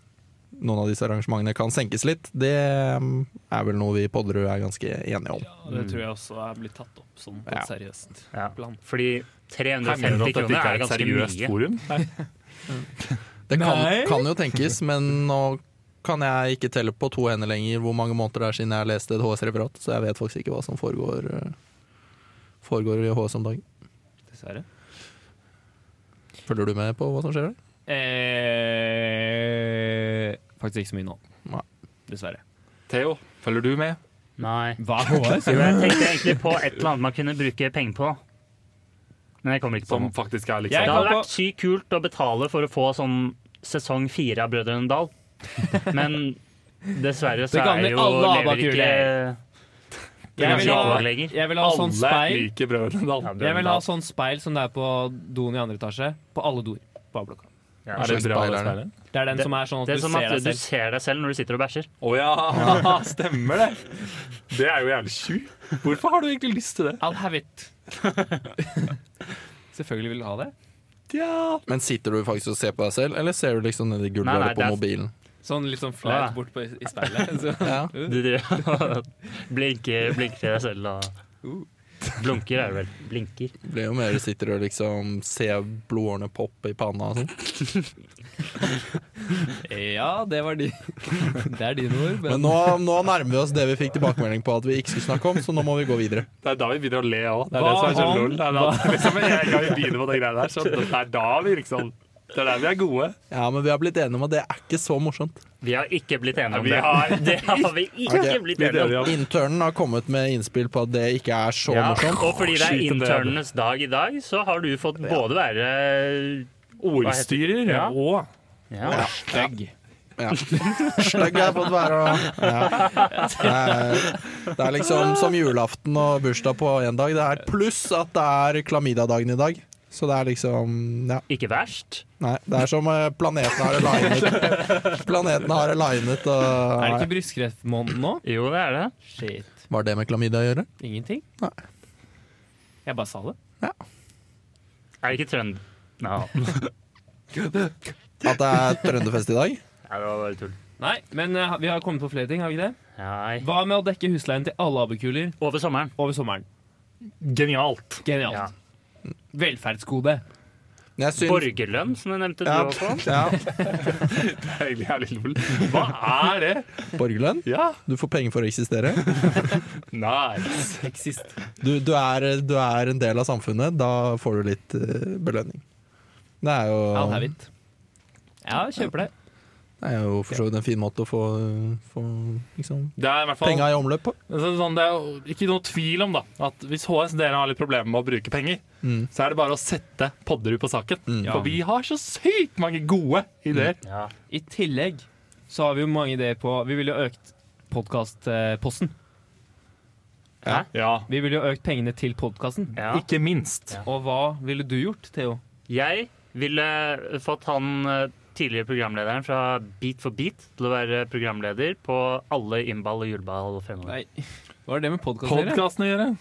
[SPEAKER 1] noen av disse arrangementene kan senkes litt. Det um, er vel noe vi i Podderud er ganske enige om.
[SPEAKER 2] Det
[SPEAKER 5] Mm.
[SPEAKER 2] tror jeg også er blitt tatt opp som
[SPEAKER 1] Ja.
[SPEAKER 2] seriøst.
[SPEAKER 5] Ja.
[SPEAKER 2] Plan.
[SPEAKER 5] Fordi
[SPEAKER 3] Hender det at
[SPEAKER 5] 350
[SPEAKER 3] dette
[SPEAKER 5] kroner
[SPEAKER 3] ikke
[SPEAKER 5] er
[SPEAKER 3] er et
[SPEAKER 5] ganske
[SPEAKER 3] seriøst
[SPEAKER 5] mye.
[SPEAKER 3] forum? Nei.
[SPEAKER 1] Det kan,
[SPEAKER 2] Nei.
[SPEAKER 1] kan jo tenkes, men nå kan jeg ikke telle på to hender lenger hvor mange måneder det er siden jeg leste et HS-referat, så jeg vet faktisk ikke hva som foregår eh, foregår i HS om dagen.
[SPEAKER 2] Dessverre.
[SPEAKER 1] Følger du med på hva som skjer der?
[SPEAKER 2] Eh, faktisk ikke så mye nå.
[SPEAKER 1] Nei.
[SPEAKER 2] Dessverre.
[SPEAKER 3] Theo, følger du med?
[SPEAKER 5] Nei.
[SPEAKER 2] Hva er HS?
[SPEAKER 5] Jo, jeg tenkte egentlig på et eller annet man kunne bruke penger på. Men jeg kommer ikke på
[SPEAKER 3] Som
[SPEAKER 5] noe.
[SPEAKER 3] faktisk er
[SPEAKER 2] Jeg
[SPEAKER 5] Det
[SPEAKER 3] liksom
[SPEAKER 2] kan
[SPEAKER 5] hadde vært sykt kult å betale for å få sånn sesong fire av Brødrene Dal. Men dessverre så
[SPEAKER 2] Det kan
[SPEAKER 5] er
[SPEAKER 2] vi
[SPEAKER 5] jo
[SPEAKER 2] alle ha bak
[SPEAKER 5] lever ikke
[SPEAKER 2] Jeg vil ha,
[SPEAKER 5] lenger.
[SPEAKER 2] jeg vil ha sånn
[SPEAKER 3] Alle
[SPEAKER 2] speil
[SPEAKER 3] liker Brødrene Dal.
[SPEAKER 5] Ja,
[SPEAKER 2] Jeg vil ha sånn speil som det er på doen i andre etasje. På alle doer på A-blokka.
[SPEAKER 5] Ja.
[SPEAKER 3] Er det bra
[SPEAKER 1] Speilerne.
[SPEAKER 3] speiler?
[SPEAKER 2] Det er den
[SPEAKER 5] Det-
[SPEAKER 2] som er sånn at
[SPEAKER 5] Det er
[SPEAKER 2] du
[SPEAKER 5] som
[SPEAKER 2] ser
[SPEAKER 5] at
[SPEAKER 2] deg
[SPEAKER 5] du
[SPEAKER 2] selv.
[SPEAKER 5] ser deg selv når du sitter og bæsjer.
[SPEAKER 3] Å ja, *laughs* stemmer det! Det er jo jævlig sjukt. Hvorfor har du egentlig lyst til det?
[SPEAKER 2] I'll have it.
[SPEAKER 5] *laughs*
[SPEAKER 2] Selvfølgelig vil du ha det.
[SPEAKER 3] Ja.
[SPEAKER 1] Men sitter du faktisk og ser på deg selv, eller ser du liksom nedi
[SPEAKER 5] Nei, nei,
[SPEAKER 1] gulvet eller
[SPEAKER 5] det
[SPEAKER 1] på
[SPEAKER 5] er- *laughs*
[SPEAKER 1] mobilen?
[SPEAKER 2] Sånn litt sånn
[SPEAKER 5] Ja.
[SPEAKER 2] flaut bort på, i speilet. *laughs* Så.
[SPEAKER 1] Ja.
[SPEAKER 5] Du driver og *laughs* blinker, blinker til deg selv og Blunker er det vel. Blinker.
[SPEAKER 1] Det blir jo mer du sitter og liksom ser blodårene poppe i panna og sånn.
[SPEAKER 2] Ja, det var de. *laughs* Det er dine ord.
[SPEAKER 1] Men
[SPEAKER 2] Men
[SPEAKER 1] nå, nå nærmer vi oss det vi fikk tilbakemelding på at vi ikke skulle snakke om, så nå må vi gå videre.
[SPEAKER 3] Det er da vi begynner å le òg. Det er
[SPEAKER 2] Hva
[SPEAKER 3] det som er så
[SPEAKER 2] om-
[SPEAKER 3] lol. Det er da, liksom, med en gang vi begynner på det greiene der, så det er da vi liksom Det er der vi er gode.
[SPEAKER 1] Ja, men vi har blitt enige om at det er ikke så morsomt.
[SPEAKER 5] Vi har ikke blitt enige om
[SPEAKER 3] Vi
[SPEAKER 5] det.
[SPEAKER 3] har-
[SPEAKER 5] *laughs* Det har vi ikke
[SPEAKER 1] Ok,
[SPEAKER 5] blitt
[SPEAKER 3] vi
[SPEAKER 5] enige om.
[SPEAKER 3] deler opp.
[SPEAKER 1] Internen har kommet med innspill på at det ikke er så
[SPEAKER 5] Ja,
[SPEAKER 1] morsomt.
[SPEAKER 5] og fordi det er
[SPEAKER 3] Skyt en del.
[SPEAKER 5] internenes dag i dag, så har du fått både være
[SPEAKER 3] Ordstyrer
[SPEAKER 5] Ja.
[SPEAKER 3] og
[SPEAKER 5] ja.
[SPEAKER 2] stygg.
[SPEAKER 1] Ja. Stygg har jeg fått være. og- Ja. Det, er, det er liksom som julaften og bursdag på én dag. Det er pluss at det er klamydiadagen i dag. Så det er liksom Ja.
[SPEAKER 5] Ikke verst.
[SPEAKER 1] Nei, det er som eh, planeten har alignet. Planeten har alignet
[SPEAKER 2] Er det
[SPEAKER 1] og
[SPEAKER 2] ikke brystkreftmåneden nå?
[SPEAKER 5] Jo, det er det.
[SPEAKER 2] Shit.
[SPEAKER 1] Var det med klamydia å gjøre?
[SPEAKER 2] Ingenting?
[SPEAKER 1] Nei.
[SPEAKER 2] Jeg bare sa det.
[SPEAKER 5] Er det ikke trønd... Nei,
[SPEAKER 1] At det er trønderfest i dag?
[SPEAKER 5] det var bare tull.
[SPEAKER 2] Nei, men eh, vi har kommet på flere ting, har vi ikke det?
[SPEAKER 5] Nei.
[SPEAKER 2] Hva med å dekke husleien til alle abekuler
[SPEAKER 5] Over sommeren.
[SPEAKER 2] over sommeren?
[SPEAKER 5] Genialt.
[SPEAKER 2] Genialt.
[SPEAKER 5] Ja.
[SPEAKER 2] Velferdsgode.
[SPEAKER 1] Jeg syns-
[SPEAKER 5] Borgerlønn, som du nevnte
[SPEAKER 1] ja,
[SPEAKER 5] du også.
[SPEAKER 1] ja.
[SPEAKER 3] Det er egentlig jævlig lol. Hva er det?
[SPEAKER 1] Borgerlønn.
[SPEAKER 3] Ja,
[SPEAKER 1] Du får penger for å eksistere.
[SPEAKER 3] nice.
[SPEAKER 2] Eksist.
[SPEAKER 1] Du, du, er, du er en del av samfunnet. Da får du litt eh, belønning. Det er jo
[SPEAKER 2] I'll have it. Ja, kjøper det.
[SPEAKER 1] Det er jo for så vidt en fin måte å få, få liksom,
[SPEAKER 3] Det er i hvert fall
[SPEAKER 1] penga i omløp på.
[SPEAKER 3] Men så er det sånn, det er jo ikke noe tvil om da, at hvis HS dere har litt problemer med å bruke penger,
[SPEAKER 1] Mm.
[SPEAKER 3] så er det bare å sette Podderud på saken.
[SPEAKER 1] Mm.
[SPEAKER 3] For vi har så sykt mange gode ideer.
[SPEAKER 5] Ja.
[SPEAKER 2] I tillegg så har vi jo mange ideer på Vi ville jo økt podkastposten.
[SPEAKER 3] Ja,
[SPEAKER 2] Vi ville jo økt pengene til podkasten.
[SPEAKER 5] ja.
[SPEAKER 3] ikke minst.
[SPEAKER 5] Ja.
[SPEAKER 2] Og hva ville du gjort, Theo?
[SPEAKER 5] Jeg ville fått han eh, tidligere programlederen fra Beat for beat til å være programleder på alle innball og juleball fremover.
[SPEAKER 2] Nei, hva er det med podkast å gjøre?
[SPEAKER 3] Podcasten å gjøre.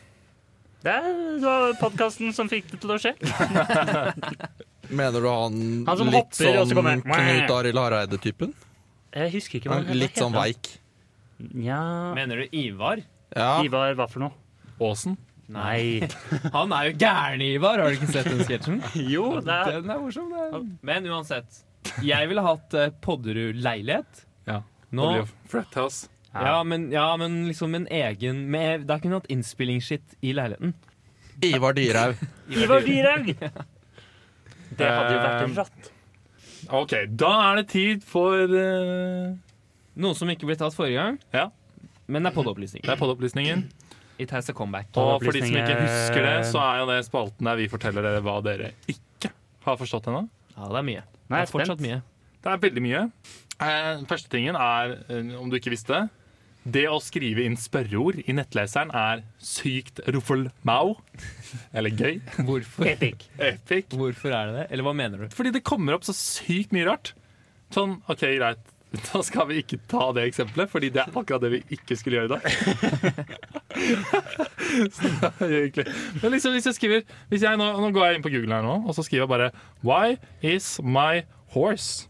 [SPEAKER 5] Det var podkasten som fikk det til å skje.
[SPEAKER 1] Mener du han,
[SPEAKER 5] Han som
[SPEAKER 1] litt
[SPEAKER 5] hopper, og så
[SPEAKER 1] sånn
[SPEAKER 5] kommer-
[SPEAKER 1] Knut Arild Hareide-typen?
[SPEAKER 5] Jeg husker ikke hva
[SPEAKER 1] Han
[SPEAKER 5] han
[SPEAKER 1] er Litt sånn veik.
[SPEAKER 5] Ja.
[SPEAKER 2] Mener du Ivar?
[SPEAKER 1] Ja,
[SPEAKER 5] Ivar, hva for noe?
[SPEAKER 3] Åsen.
[SPEAKER 5] Nei.
[SPEAKER 2] Han er jo gæren Ivar, har du ikke sett den sketsjen?
[SPEAKER 5] Jo, det er
[SPEAKER 2] Den er morsom, den. Men uansett. Jeg ville hatt eh, Podderud-leilighet.
[SPEAKER 3] Ja,
[SPEAKER 2] Nå,
[SPEAKER 3] Det blir jo Frat House.
[SPEAKER 2] ja, men, ja, men liksom en egen med, Da kunne vi hatt innspillingsskitt i leiligheten.
[SPEAKER 1] Ivar
[SPEAKER 5] *laughs*
[SPEAKER 1] Dyrhaug.
[SPEAKER 5] Ivar Dyrhaug! Det hadde jo vært rått.
[SPEAKER 3] Ok, da er det tid for... eh,
[SPEAKER 2] Noe som ikke ble tatt forrige gang,
[SPEAKER 3] Ja.
[SPEAKER 2] men det er podopplysning.
[SPEAKER 3] det er podopplysningen.
[SPEAKER 2] It has a comeback.
[SPEAKER 3] Og for de som ikke
[SPEAKER 5] Podopplysninger.
[SPEAKER 3] husker det, så er jo det spalten der vi forteller dere hva dere ikke har forstått ennå.
[SPEAKER 2] Ja, det er mye.
[SPEAKER 5] Nei,
[SPEAKER 2] Det er
[SPEAKER 5] jeg er
[SPEAKER 2] fortsatt
[SPEAKER 5] spent.
[SPEAKER 2] mye.
[SPEAKER 3] Det er veldig mye. Eh, første tingen er, eh, om du ikke visste det å skrive inn spørreord i nettleseren er sykt ruffel mau. Eller gøy.
[SPEAKER 2] Hvorfor,
[SPEAKER 5] *laughs* Epic.
[SPEAKER 3] Epic.
[SPEAKER 2] hvorfor er det det? Eller hva mener du?
[SPEAKER 3] Fordi det kommer opp så sykt mye rart. Sånn, OK, greit. *laughs* Da skal vi ikke ta det eksempelet, fordi det er akkurat det vi ikke skulle gjøre i dag. *laughs* Så det er egentlig- Men liksom, hvis jeg skriver hvis jeg, nå, nå går jeg inn på Google her nå, og så skriver jeg bare Why is my horse?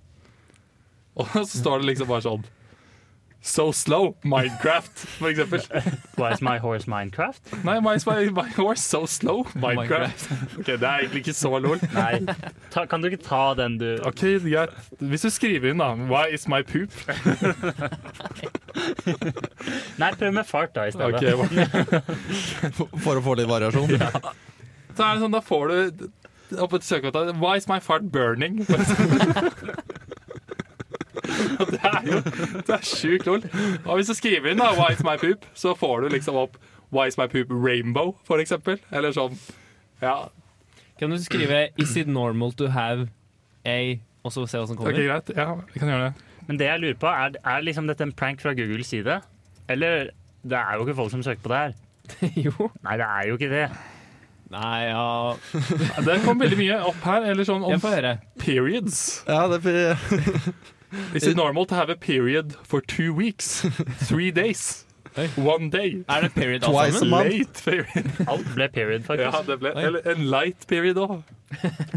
[SPEAKER 3] Og så står det liksom bare sånn So slow, Minecraft, for eksempel.
[SPEAKER 5] Why is my horse Minecraft?
[SPEAKER 3] Nei, my, my, my horse so slow, Minecraft. Ok, Det er egentlig ikke så lol.
[SPEAKER 5] Nei. Ta, kan du ikke ta den du
[SPEAKER 3] Ok, greit. Hvis du skriver inn, da. Why is my poop?
[SPEAKER 5] Nei, prøv med fart da i stedet.
[SPEAKER 3] Ok, hva-
[SPEAKER 1] For å få litt variasjon.
[SPEAKER 3] Så er det sånn, da får du oppe til søkemåten Why is my fart burning? *laughs* For eksempel. Og Det er jo Det er sjukt lol. Og hvis du skriver inn da Why is my poop, så får du liksom opp Why is my poop rainbow, for eksempel. Eller sånn. Ja,
[SPEAKER 2] Kan du skrive 'Is it normal to have a' og så se hva som
[SPEAKER 3] ok,
[SPEAKER 2] kommer?
[SPEAKER 3] greit. Ja, vi kan gjøre det.
[SPEAKER 5] Men det jeg lurer på, er, er liksom dette en prank fra Googles side? Eller det er jo ikke folk som søker på det her.
[SPEAKER 2] *laughs* jo.
[SPEAKER 5] Nei, det er jo ikke det.
[SPEAKER 2] Nei, ja
[SPEAKER 3] Det kom veldig mye opp her. Eller sånn
[SPEAKER 2] Jeg
[SPEAKER 3] om
[SPEAKER 2] får høre.
[SPEAKER 3] periods.
[SPEAKER 1] Ja, det blir
[SPEAKER 3] Is it normal to have a period for two weeks? Three days?
[SPEAKER 2] Oi.
[SPEAKER 3] One day?
[SPEAKER 2] Er det period alt
[SPEAKER 1] Twice
[SPEAKER 2] sammen?
[SPEAKER 1] a month.
[SPEAKER 3] Late period?
[SPEAKER 5] Alt ble period, faktisk.
[SPEAKER 3] Ja, det ble, eller en light period òg.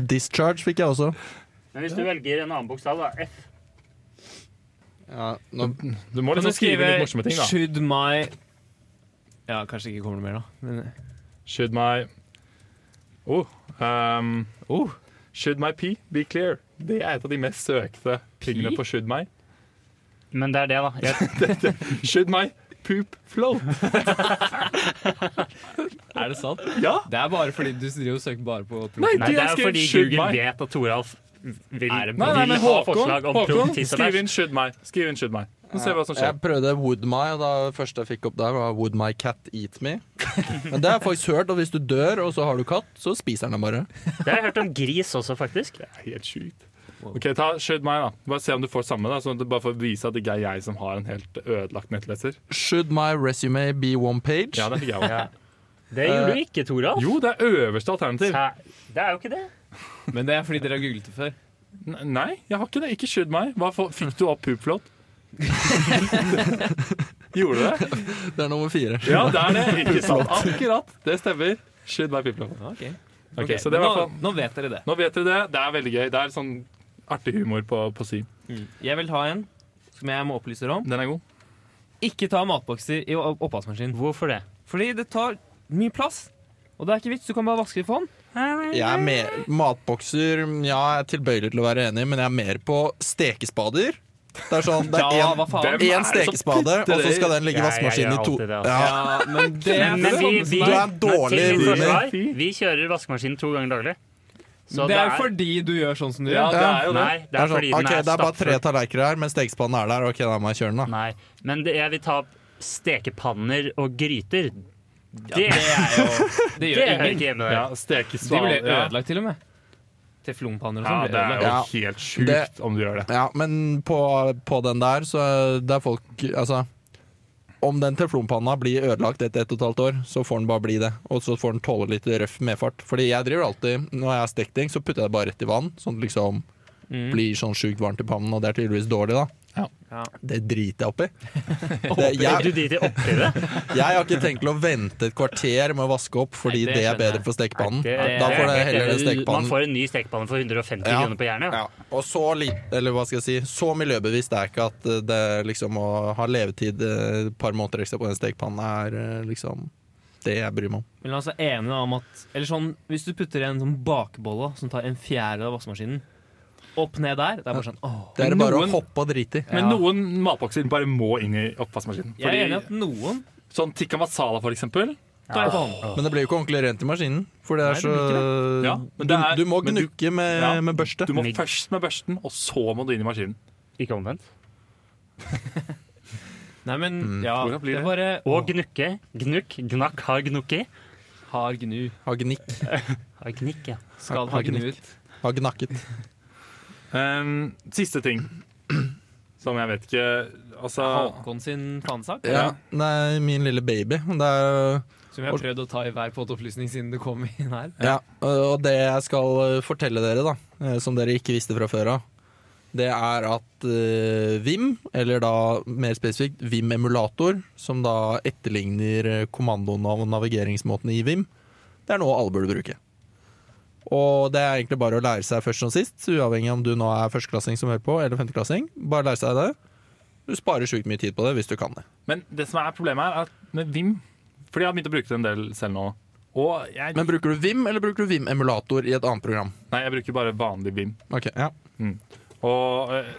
[SPEAKER 1] discharge, fikk jeg også.
[SPEAKER 5] Men hvis du velger en annen bokstav, da, F
[SPEAKER 1] Ja, nå,
[SPEAKER 3] Du må
[SPEAKER 2] Kan du
[SPEAKER 3] liksom skrive litt morsomme ting,
[SPEAKER 2] skrive
[SPEAKER 3] da.
[SPEAKER 2] 'Should my' Ja, kanskje ikke kommer det mer, da. Men,
[SPEAKER 3] Should my oh, um,
[SPEAKER 2] oh,
[SPEAKER 3] Should my pee be clear? Det er et av de mest søkte tingene
[SPEAKER 2] Pee?
[SPEAKER 3] på Should my.
[SPEAKER 5] Men det er det, da.
[SPEAKER 3] *laughs*
[SPEAKER 5] Jeg,
[SPEAKER 3] Should my poop flow?
[SPEAKER 2] er det sant?
[SPEAKER 3] Ja!
[SPEAKER 2] *laughs* Det er bare fordi du driver og søker bare på
[SPEAKER 3] Nei,
[SPEAKER 5] nei, det
[SPEAKER 3] jeg
[SPEAKER 5] er jo
[SPEAKER 3] skrev
[SPEAKER 5] fordi
[SPEAKER 3] should
[SPEAKER 5] Google
[SPEAKER 3] my.
[SPEAKER 5] vet at Toralf vil,
[SPEAKER 2] Er det-
[SPEAKER 3] Nei, nei,
[SPEAKER 5] vil
[SPEAKER 3] men
[SPEAKER 5] ha
[SPEAKER 3] Håkon,
[SPEAKER 5] forslag om
[SPEAKER 3] Håkon
[SPEAKER 5] prompt, tiss og
[SPEAKER 3] skriv
[SPEAKER 5] bæsj.
[SPEAKER 3] inn should my. Skriv inn should my. Så ser vi hva som skjer.
[SPEAKER 1] jeg prøvde Would My, og da første jeg fikk opp der, var Would my cat eat me? Men det har jeg faktisk hørt, at hvis du dør, og så har du katt, så spiser den deg bare.
[SPEAKER 5] Det har jeg hørt om gris også, faktisk.
[SPEAKER 3] Helt sjukt. Ok, ta Should my, da. Bare se om du får samme, da. Sånn at du bare får vise at det ikke er jeg som har en helt ødelagt nettleser.
[SPEAKER 1] Should my resume be one page?
[SPEAKER 3] Ja, det fikk jeg også.
[SPEAKER 5] Det gjorde du ikke, Toralf.
[SPEAKER 3] Eh, Jo, det er øverste alternativ.
[SPEAKER 5] Hæ? Det er jo ikke det.
[SPEAKER 2] Men det er fordi dere har googlet det før.
[SPEAKER 3] N- Nei, jeg har ikke det. Ikke skyld meg. Hva for, fikk du opp poopflåt? Gjorde du det?
[SPEAKER 1] Det er nummer fire.
[SPEAKER 3] Ja, det er det. Ikke sant. Akkurat. Det stemmer. Skyld meg poopflåt.
[SPEAKER 2] Ok,
[SPEAKER 3] Ok,
[SPEAKER 2] Ok,
[SPEAKER 3] så det
[SPEAKER 2] nå,
[SPEAKER 3] var i hvert fall-
[SPEAKER 2] nå vet dere det.
[SPEAKER 3] Nå vet dere det. Det er veldig gøy. Det er sånn artig humor på, på si.
[SPEAKER 2] Jeg vil ha en som jeg må opplyse dere om.
[SPEAKER 3] Den er god.
[SPEAKER 2] Ikke ta matbokser i opp- oppvaskmaskinen.
[SPEAKER 5] Hvorfor det?
[SPEAKER 2] Fordi det tar mye plass. Og det er ikke vits, du kan bare vaske det for hånd.
[SPEAKER 1] Jeg er mer, matbokser Ja, jeg er tilbøyelig til å være enig, men jeg er mer på stekespader. Det er sånn,
[SPEAKER 5] *laughs*
[SPEAKER 1] det
[SPEAKER 2] Ja,
[SPEAKER 1] er
[SPEAKER 2] hva faen?
[SPEAKER 3] Hvem er
[SPEAKER 1] én
[SPEAKER 3] det som
[SPEAKER 1] stekespade,
[SPEAKER 3] putter
[SPEAKER 1] og så
[SPEAKER 3] det i?
[SPEAKER 1] skal den ligge i
[SPEAKER 5] Ja, jeg
[SPEAKER 1] vaskemaskinen
[SPEAKER 5] gjør
[SPEAKER 1] i to
[SPEAKER 5] alltid det, altså.
[SPEAKER 1] ja.
[SPEAKER 2] Ja, *laughs* men det
[SPEAKER 5] Men, sånn men vi, vi,
[SPEAKER 1] Du er en dårlig
[SPEAKER 5] men til mitt
[SPEAKER 1] roomie.
[SPEAKER 5] forsvar, vi kjører vaskemaskinen to ganger daglig. Så
[SPEAKER 2] Det er fordi du gjør sånn som du
[SPEAKER 3] Ja,
[SPEAKER 2] gjør.
[SPEAKER 3] det er jo det.
[SPEAKER 5] Nei, det
[SPEAKER 1] Det
[SPEAKER 5] er
[SPEAKER 1] er, sånn,
[SPEAKER 5] fordi den
[SPEAKER 1] ok,
[SPEAKER 5] er
[SPEAKER 1] det er bare tre
[SPEAKER 5] stappfull.
[SPEAKER 1] tallerkener her, men stekespaden er der. Ok, da må jeg kjøre den, da.
[SPEAKER 5] Nei, men det, jeg vil ta opp stekepanner og gryter. Det,
[SPEAKER 2] Det er jo *laughs* Det
[SPEAKER 5] det
[SPEAKER 2] gjør
[SPEAKER 5] hører
[SPEAKER 2] ingen.
[SPEAKER 5] ikke hjemme der.
[SPEAKER 3] Ja,
[SPEAKER 2] De
[SPEAKER 3] Stekesval.
[SPEAKER 2] ble
[SPEAKER 3] Ja.
[SPEAKER 2] ødelagt, til og med. Teflonpanner og
[SPEAKER 3] ja,
[SPEAKER 2] sånn ble
[SPEAKER 3] det er
[SPEAKER 2] ødelagt.
[SPEAKER 3] jo
[SPEAKER 1] Ja.
[SPEAKER 3] helt sjukt
[SPEAKER 1] Det-
[SPEAKER 3] om du gjør det.
[SPEAKER 1] Ja, men på, på den der, så det er folk Altså, om den teflonpanna blir ødelagt etter ett og et halvt år, så får den bare bli det. Og så får den tåle litt røff medfart. Fordi jeg driver alltid, når jeg har stekt ting, så putter jeg det bare rett i vann, sånn at det liksom
[SPEAKER 2] Mm.
[SPEAKER 1] blir sånn sjukt varmt i pannen, og det er tydeligvis dårlig, da.
[SPEAKER 2] Ja.
[SPEAKER 1] Det driter jeg
[SPEAKER 2] *laughs*
[SPEAKER 1] oppi. Det,
[SPEAKER 5] Du
[SPEAKER 1] jeg,
[SPEAKER 5] driter oppi det.
[SPEAKER 1] jeg har ikke tenkt til å vente et kvarter med å vaske opp, fordi
[SPEAKER 2] Nei, det
[SPEAKER 1] det, er
[SPEAKER 2] skjønner jeg.
[SPEAKER 1] bedre for stekepannen.
[SPEAKER 5] Det-
[SPEAKER 1] Da får det
[SPEAKER 5] det-
[SPEAKER 1] heller den
[SPEAKER 5] Man
[SPEAKER 1] stekepannen.
[SPEAKER 5] får en ny stekepanne for 150
[SPEAKER 1] Ja.
[SPEAKER 5] kroner på Jernet.
[SPEAKER 1] Ja, og så litt, eller hva skal jeg si, så miljøbevisst er ikke at eh, det liksom å ha levetid eh, et par måneder ekstra på den stekepannen er eh, liksom det jeg bryr meg om.
[SPEAKER 2] Men la oss være enige om at Eller sånn, hvis du putter en sånn bakebolle som tar en fjerde av vaskemaskinen, opp ned der, det er bare sånn åh.
[SPEAKER 1] Det er
[SPEAKER 3] Men
[SPEAKER 1] bare
[SPEAKER 3] noen-
[SPEAKER 1] å hoppe og drite i.
[SPEAKER 3] Men
[SPEAKER 2] Ja.
[SPEAKER 3] noen matbokser bare må inn i oppvaskmaskinen.
[SPEAKER 2] Jeg er enig i at
[SPEAKER 3] Fordi,
[SPEAKER 2] noen
[SPEAKER 3] sånn tikka masala, for eksempel.
[SPEAKER 2] tar jeg på hånden.
[SPEAKER 1] Men det blir jo ikke ordentlig rent i maskinen, for det
[SPEAKER 2] Nei,
[SPEAKER 1] er
[SPEAKER 2] det
[SPEAKER 1] så
[SPEAKER 2] blir
[SPEAKER 3] Ja,
[SPEAKER 1] du,
[SPEAKER 3] men det er-
[SPEAKER 1] du må
[SPEAKER 3] men du-
[SPEAKER 1] gnukke med,
[SPEAKER 3] Ja.
[SPEAKER 1] med børste.
[SPEAKER 3] Du må
[SPEAKER 5] Mig-
[SPEAKER 3] først med børsten, og så må du inn i maskinen.
[SPEAKER 5] Ikke omvendt.
[SPEAKER 2] Nei, men ja,
[SPEAKER 3] Mm. Hvordan blir
[SPEAKER 2] det er bare
[SPEAKER 5] Og gnukke. Gnukk. Gnakk har gnukki.
[SPEAKER 2] har gnu.
[SPEAKER 1] Ha gnikk.
[SPEAKER 5] Har gnikk, ja.
[SPEAKER 2] Skal
[SPEAKER 1] Har
[SPEAKER 2] ha gnu
[SPEAKER 1] gnikk.
[SPEAKER 2] ut.
[SPEAKER 1] Ha gnakket.
[SPEAKER 3] Um, siste ting som jeg vet ikke Altså
[SPEAKER 2] Håkon sin fanesak,
[SPEAKER 1] Ja. Det er min lille baby. Det er
[SPEAKER 2] som vi har prøvd å ta i hver podopplysning siden du kom inn *laughs* her.
[SPEAKER 1] Ja, og det jeg skal fortelle dere, da, eh, som dere ikke visste fra før av, det er at eh, Vim, eller da mer spesifikt Vim emulator, som da etterligner eh, kommandoen og navigeringsmåten i Vim, det er noe alle burde bruke. Og det er egentlig bare å lære seg først som sist, uavhengig om du nå er førsteklassing som hører på, eller femteklassing. Bare lære seg det. Du sparer sjukt mye tid på det hvis du kan det.
[SPEAKER 3] Men det som er problemet her, er at med Vim Fordi jeg har begynt å bruke det en del selv nå. Og jeg,
[SPEAKER 1] Men bruker du Vim, eller bruker du Vim-emulator i et annet program?
[SPEAKER 3] nei, jeg bruker bare vanlig Vim.
[SPEAKER 1] Ok, ja.
[SPEAKER 3] Og eh,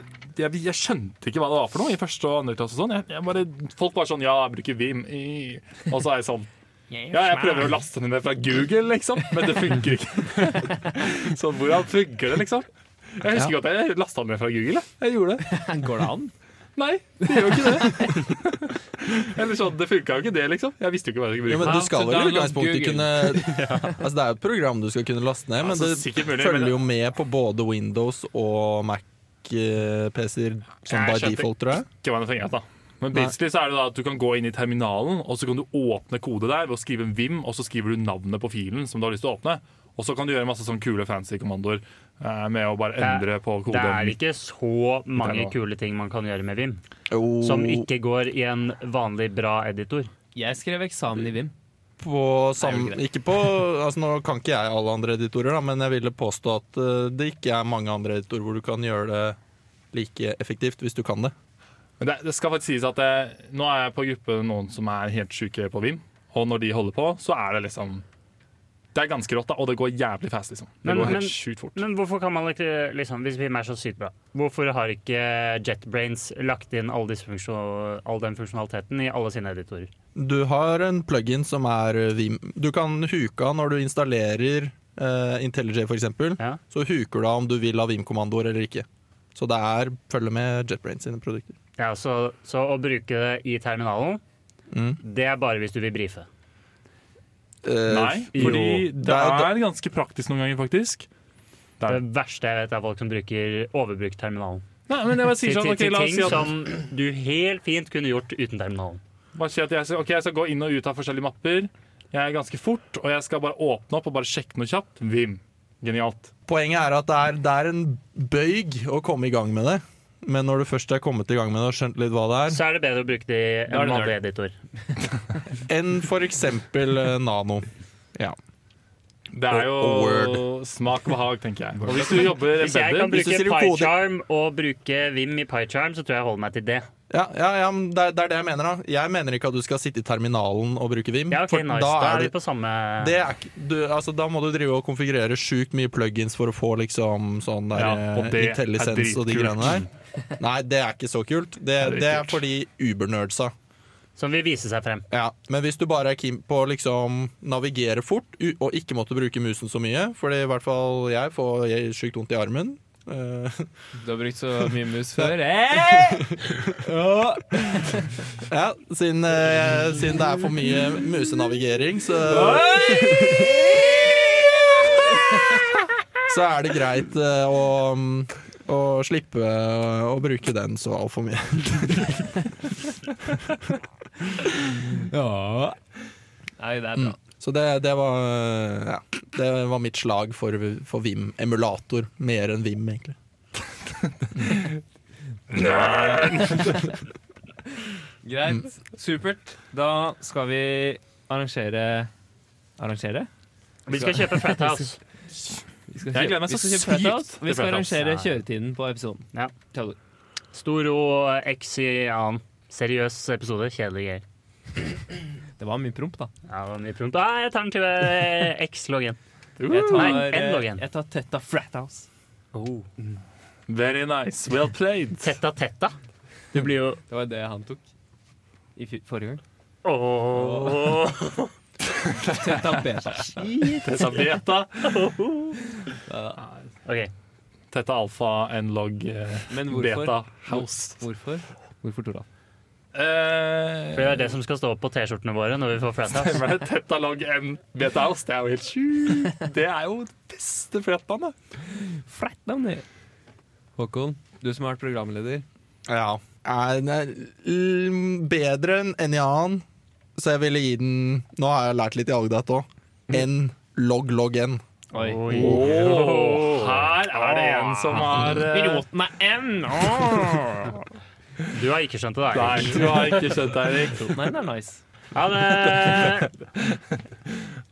[SPEAKER 3] jeg, jeg skjønte ikke hva det var for noe i første og andre klasse. og Sånn. Jeg, jeg bare, folk var sånn Ja, jeg bruker Vim. I. Og så er jeg sånn Ja, jeg prøver å laste ned det fra Google, liksom, men det funker ikke. *laughs* Så hvordan funker det, liksom? Jeg husker ikke at jeg lasta den ned fra Google. jeg. Jeg gjorde det.
[SPEAKER 4] Går det an?
[SPEAKER 3] Nei, det gjør jo ikke det. *laughs* Eller sånn, Det funka jo ikke, det, liksom. Jeg visste jo ikke hva jeg skulle
[SPEAKER 1] Jo,
[SPEAKER 3] bruke.
[SPEAKER 1] men du skal
[SPEAKER 2] så
[SPEAKER 1] vel i
[SPEAKER 2] download
[SPEAKER 1] utgangspunktet
[SPEAKER 2] Google.
[SPEAKER 1] kunne
[SPEAKER 3] *laughs*
[SPEAKER 1] Altså Det er jo et program du skal kunne laste ned, men
[SPEAKER 3] Altså,
[SPEAKER 1] det
[SPEAKER 3] sikkert mulig, men
[SPEAKER 1] følger
[SPEAKER 3] det-
[SPEAKER 1] jo med på både Windows og eh, Mac-PC-er som
[SPEAKER 3] Jeg
[SPEAKER 1] sånn by
[SPEAKER 3] skjønte
[SPEAKER 1] default, tror jeg.
[SPEAKER 3] Ikke hva det fungerer, da. Men basically så er det da at du kan gå inn i terminalen, og så kan du åpne kode der ved å skrive en VIM, og så skriver du navnet på filen som du har lyst til å åpne. Og så kan du gjøre masse sånn kule fancy kommandoer eh, med å bare endre på
[SPEAKER 5] Det er
[SPEAKER 3] koden.
[SPEAKER 5] ikke så mange
[SPEAKER 3] Nei, nå.
[SPEAKER 5] kule ting man kan gjøre med Vim,
[SPEAKER 1] Jo,
[SPEAKER 5] som ikke går i en vanlig bra editor.
[SPEAKER 2] Jeg skrev eksamen i Vim.
[SPEAKER 1] på sam,
[SPEAKER 2] Nei,
[SPEAKER 1] ikke på altså Nå kan ikke jeg alle andre editorer, da, men jeg ville påstå at eh, det ikke er mange andre editorer hvor du kan gjøre det like effektivt hvis du kan det.
[SPEAKER 3] Men det, det skal faktisk sies at eh, nå er jeg på gruppe noen som er helt syke på VIM, og når de holder på, så er det liksom Det er ganske rått, da, og det går jævlig fast, liksom. Det
[SPEAKER 5] Men-
[SPEAKER 3] går
[SPEAKER 5] men-
[SPEAKER 3] helt sjukt fort.
[SPEAKER 5] Men hvorfor kan man ikke, liksom, hvis Vim er så sykt bra, hvorfor har ikke JetBrains lagt inn all, disse funksjo- all den funksjonaliteten i alle sine editorer?
[SPEAKER 1] Du har en plugin som er Vim. Du kan huke av når du installerer eh, IntelliJ f.eks.
[SPEAKER 5] Ja.
[SPEAKER 1] Så huker du av om du vil ha Vim-kommandoer eller ikke. Så det er følge med JetBrains sine produkter.
[SPEAKER 5] Ja, så, altså, så å bruke det i terminalen,
[SPEAKER 1] Mm.
[SPEAKER 5] det er bare hvis du vil brife.
[SPEAKER 1] Eh,
[SPEAKER 3] Nei,
[SPEAKER 1] jo.
[SPEAKER 3] fordi
[SPEAKER 1] Det
[SPEAKER 3] det
[SPEAKER 1] er-
[SPEAKER 3] er ganske praktisk noen ganger, faktisk. Det
[SPEAKER 5] Det
[SPEAKER 3] er,
[SPEAKER 5] verste jeg vet er folk som bruker overbrukt terminalen.
[SPEAKER 3] nei, men jeg bare
[SPEAKER 5] Til,
[SPEAKER 3] sier sånn,
[SPEAKER 5] til,
[SPEAKER 3] ok,
[SPEAKER 5] til
[SPEAKER 3] la oss
[SPEAKER 5] ting
[SPEAKER 3] si at
[SPEAKER 5] som du helt fint kunne gjort uten terminalen.
[SPEAKER 3] Bare si at jeg skal, ok, jeg skal gå inn og ut av forskjellige mapper. Jeg er ganske fort, og jeg skal bare åpne opp og bare sjekke noe kjapt. Vim. Genialt.
[SPEAKER 1] Poenget er at det er, det er en bøyg å komme i gang med det. Men når du først er kommet i gang med det og skjønt litt hva det er,
[SPEAKER 5] Så er det bedre å bruke det i
[SPEAKER 3] Da er det
[SPEAKER 5] en vanlig editor.
[SPEAKER 1] enn f.eks. Nano. Ja.
[SPEAKER 3] Det
[SPEAKER 1] Oh,
[SPEAKER 3] er jo
[SPEAKER 1] Og-
[SPEAKER 3] smak og behag, tenker jeg. Og hvis du jobber
[SPEAKER 5] Hvis *laughs* jeg kan
[SPEAKER 3] bedre
[SPEAKER 1] hvis du
[SPEAKER 5] bruke
[SPEAKER 1] sier kode-
[SPEAKER 5] PyCharm og bruke Vim i PyCharm, så tror jeg jeg holder meg til det.
[SPEAKER 1] Ja, ja, ja men det, er, det er det jeg mener. da Jeg mener ikke at du skal sitte i terminalen og bruke Vim.
[SPEAKER 5] Ja, ok,
[SPEAKER 1] for
[SPEAKER 5] nice.
[SPEAKER 1] da er
[SPEAKER 5] vi
[SPEAKER 1] du
[SPEAKER 5] på samme
[SPEAKER 1] det er, ikke- du, altså, da må du drive og konfigurere sjukt mye plugins for å få liksom sånn der,
[SPEAKER 3] Ja, og
[SPEAKER 1] eh,
[SPEAKER 3] det er
[SPEAKER 1] IntelliSense og de
[SPEAKER 3] dritkult.
[SPEAKER 1] greiene der. Nei, det er ikke så kult. Det,
[SPEAKER 3] Det er
[SPEAKER 1] det er
[SPEAKER 3] dritkult.
[SPEAKER 1] fordi ubernerdsa.
[SPEAKER 5] som vil vise seg frem.
[SPEAKER 1] Ja, men hvis du bare er keen på å liksom navigere fort u- og ikke måtte bruke musen så mye, fordi i hvert fall jeg får jeg- sjukt vondt i armen eh, *laughs*
[SPEAKER 2] Du har brukt så mye *laughs* mus før. Hey! Å,
[SPEAKER 1] Ja, siden, eh, siden det er for mye musenavigering, så, så er det greit eh, å, å slippe å bruke den så altfor mye.
[SPEAKER 2] Ja. Nei, det er bra.
[SPEAKER 1] Så det, det var ja, Det var mitt slag for, for Vim. Emulator mer enn Vim, egentlig.
[SPEAKER 2] Greit. Supert. Da skal vi arrangere Arrangere?
[SPEAKER 5] Vi skal kjøpe
[SPEAKER 1] *laughs*
[SPEAKER 5] Frat House.
[SPEAKER 2] Vi skal,
[SPEAKER 3] Jeg gleder
[SPEAKER 2] kjøpe-
[SPEAKER 3] meg så
[SPEAKER 2] vi skal kjøpe
[SPEAKER 3] sykt
[SPEAKER 2] Frathouse, og Vi
[SPEAKER 3] til
[SPEAKER 2] skal
[SPEAKER 3] Frathouse.
[SPEAKER 2] arrangere kjøretiden på episoden.
[SPEAKER 5] Ja.
[SPEAKER 2] Tjallar.
[SPEAKER 5] Stor O, X i annen. Seriøs episode. Kjedelige greier.
[SPEAKER 2] Det var mye promp, da.
[SPEAKER 5] Ja, det var mye prompt. Ah, jeg tar den til eh, X loggen.
[SPEAKER 2] Jeg tar,
[SPEAKER 5] Nei, en
[SPEAKER 2] eh,
[SPEAKER 5] loggen.
[SPEAKER 2] jeg tar Tetta Frathouse.
[SPEAKER 1] Oh.
[SPEAKER 3] Very nice. Well played.
[SPEAKER 5] Tetta tetta. Du blir jo
[SPEAKER 2] Det var det han tok i fj- forrige gang.
[SPEAKER 5] Åh.
[SPEAKER 2] Tetta Beta.
[SPEAKER 3] Tetta beta.
[SPEAKER 5] OK.
[SPEAKER 3] Tetta alfa and log eh,
[SPEAKER 2] *laughs* Men hvorfor?
[SPEAKER 3] beta house.
[SPEAKER 2] Hvorfor? Hvorfor, Toralf?
[SPEAKER 5] For det
[SPEAKER 3] Eh,
[SPEAKER 5] er det som skal stå på T-skjortene våre når vi får Frat
[SPEAKER 3] *laughs*
[SPEAKER 5] House.
[SPEAKER 3] stemmer det? Tetta log and beta house. Det er jo helt sjukt. Det er jo det beste flettene.
[SPEAKER 2] Håkon, du som har vært programleder.
[SPEAKER 1] Ja. Er, den er l- bedre enn en i annen, så jeg ville gi den Nå har jeg lært litt i Algdat òg. Enn log log n.
[SPEAKER 2] Oi.
[SPEAKER 5] Oi.
[SPEAKER 3] Åh, her er det en som har eh,
[SPEAKER 5] med N! Du har ikke skjønt
[SPEAKER 3] *laughs*
[SPEAKER 5] det, da.
[SPEAKER 3] Nei,
[SPEAKER 5] Erik.
[SPEAKER 3] du har ikke skjønt det, Erik.
[SPEAKER 2] Nei, det er nice.
[SPEAKER 5] Ha det!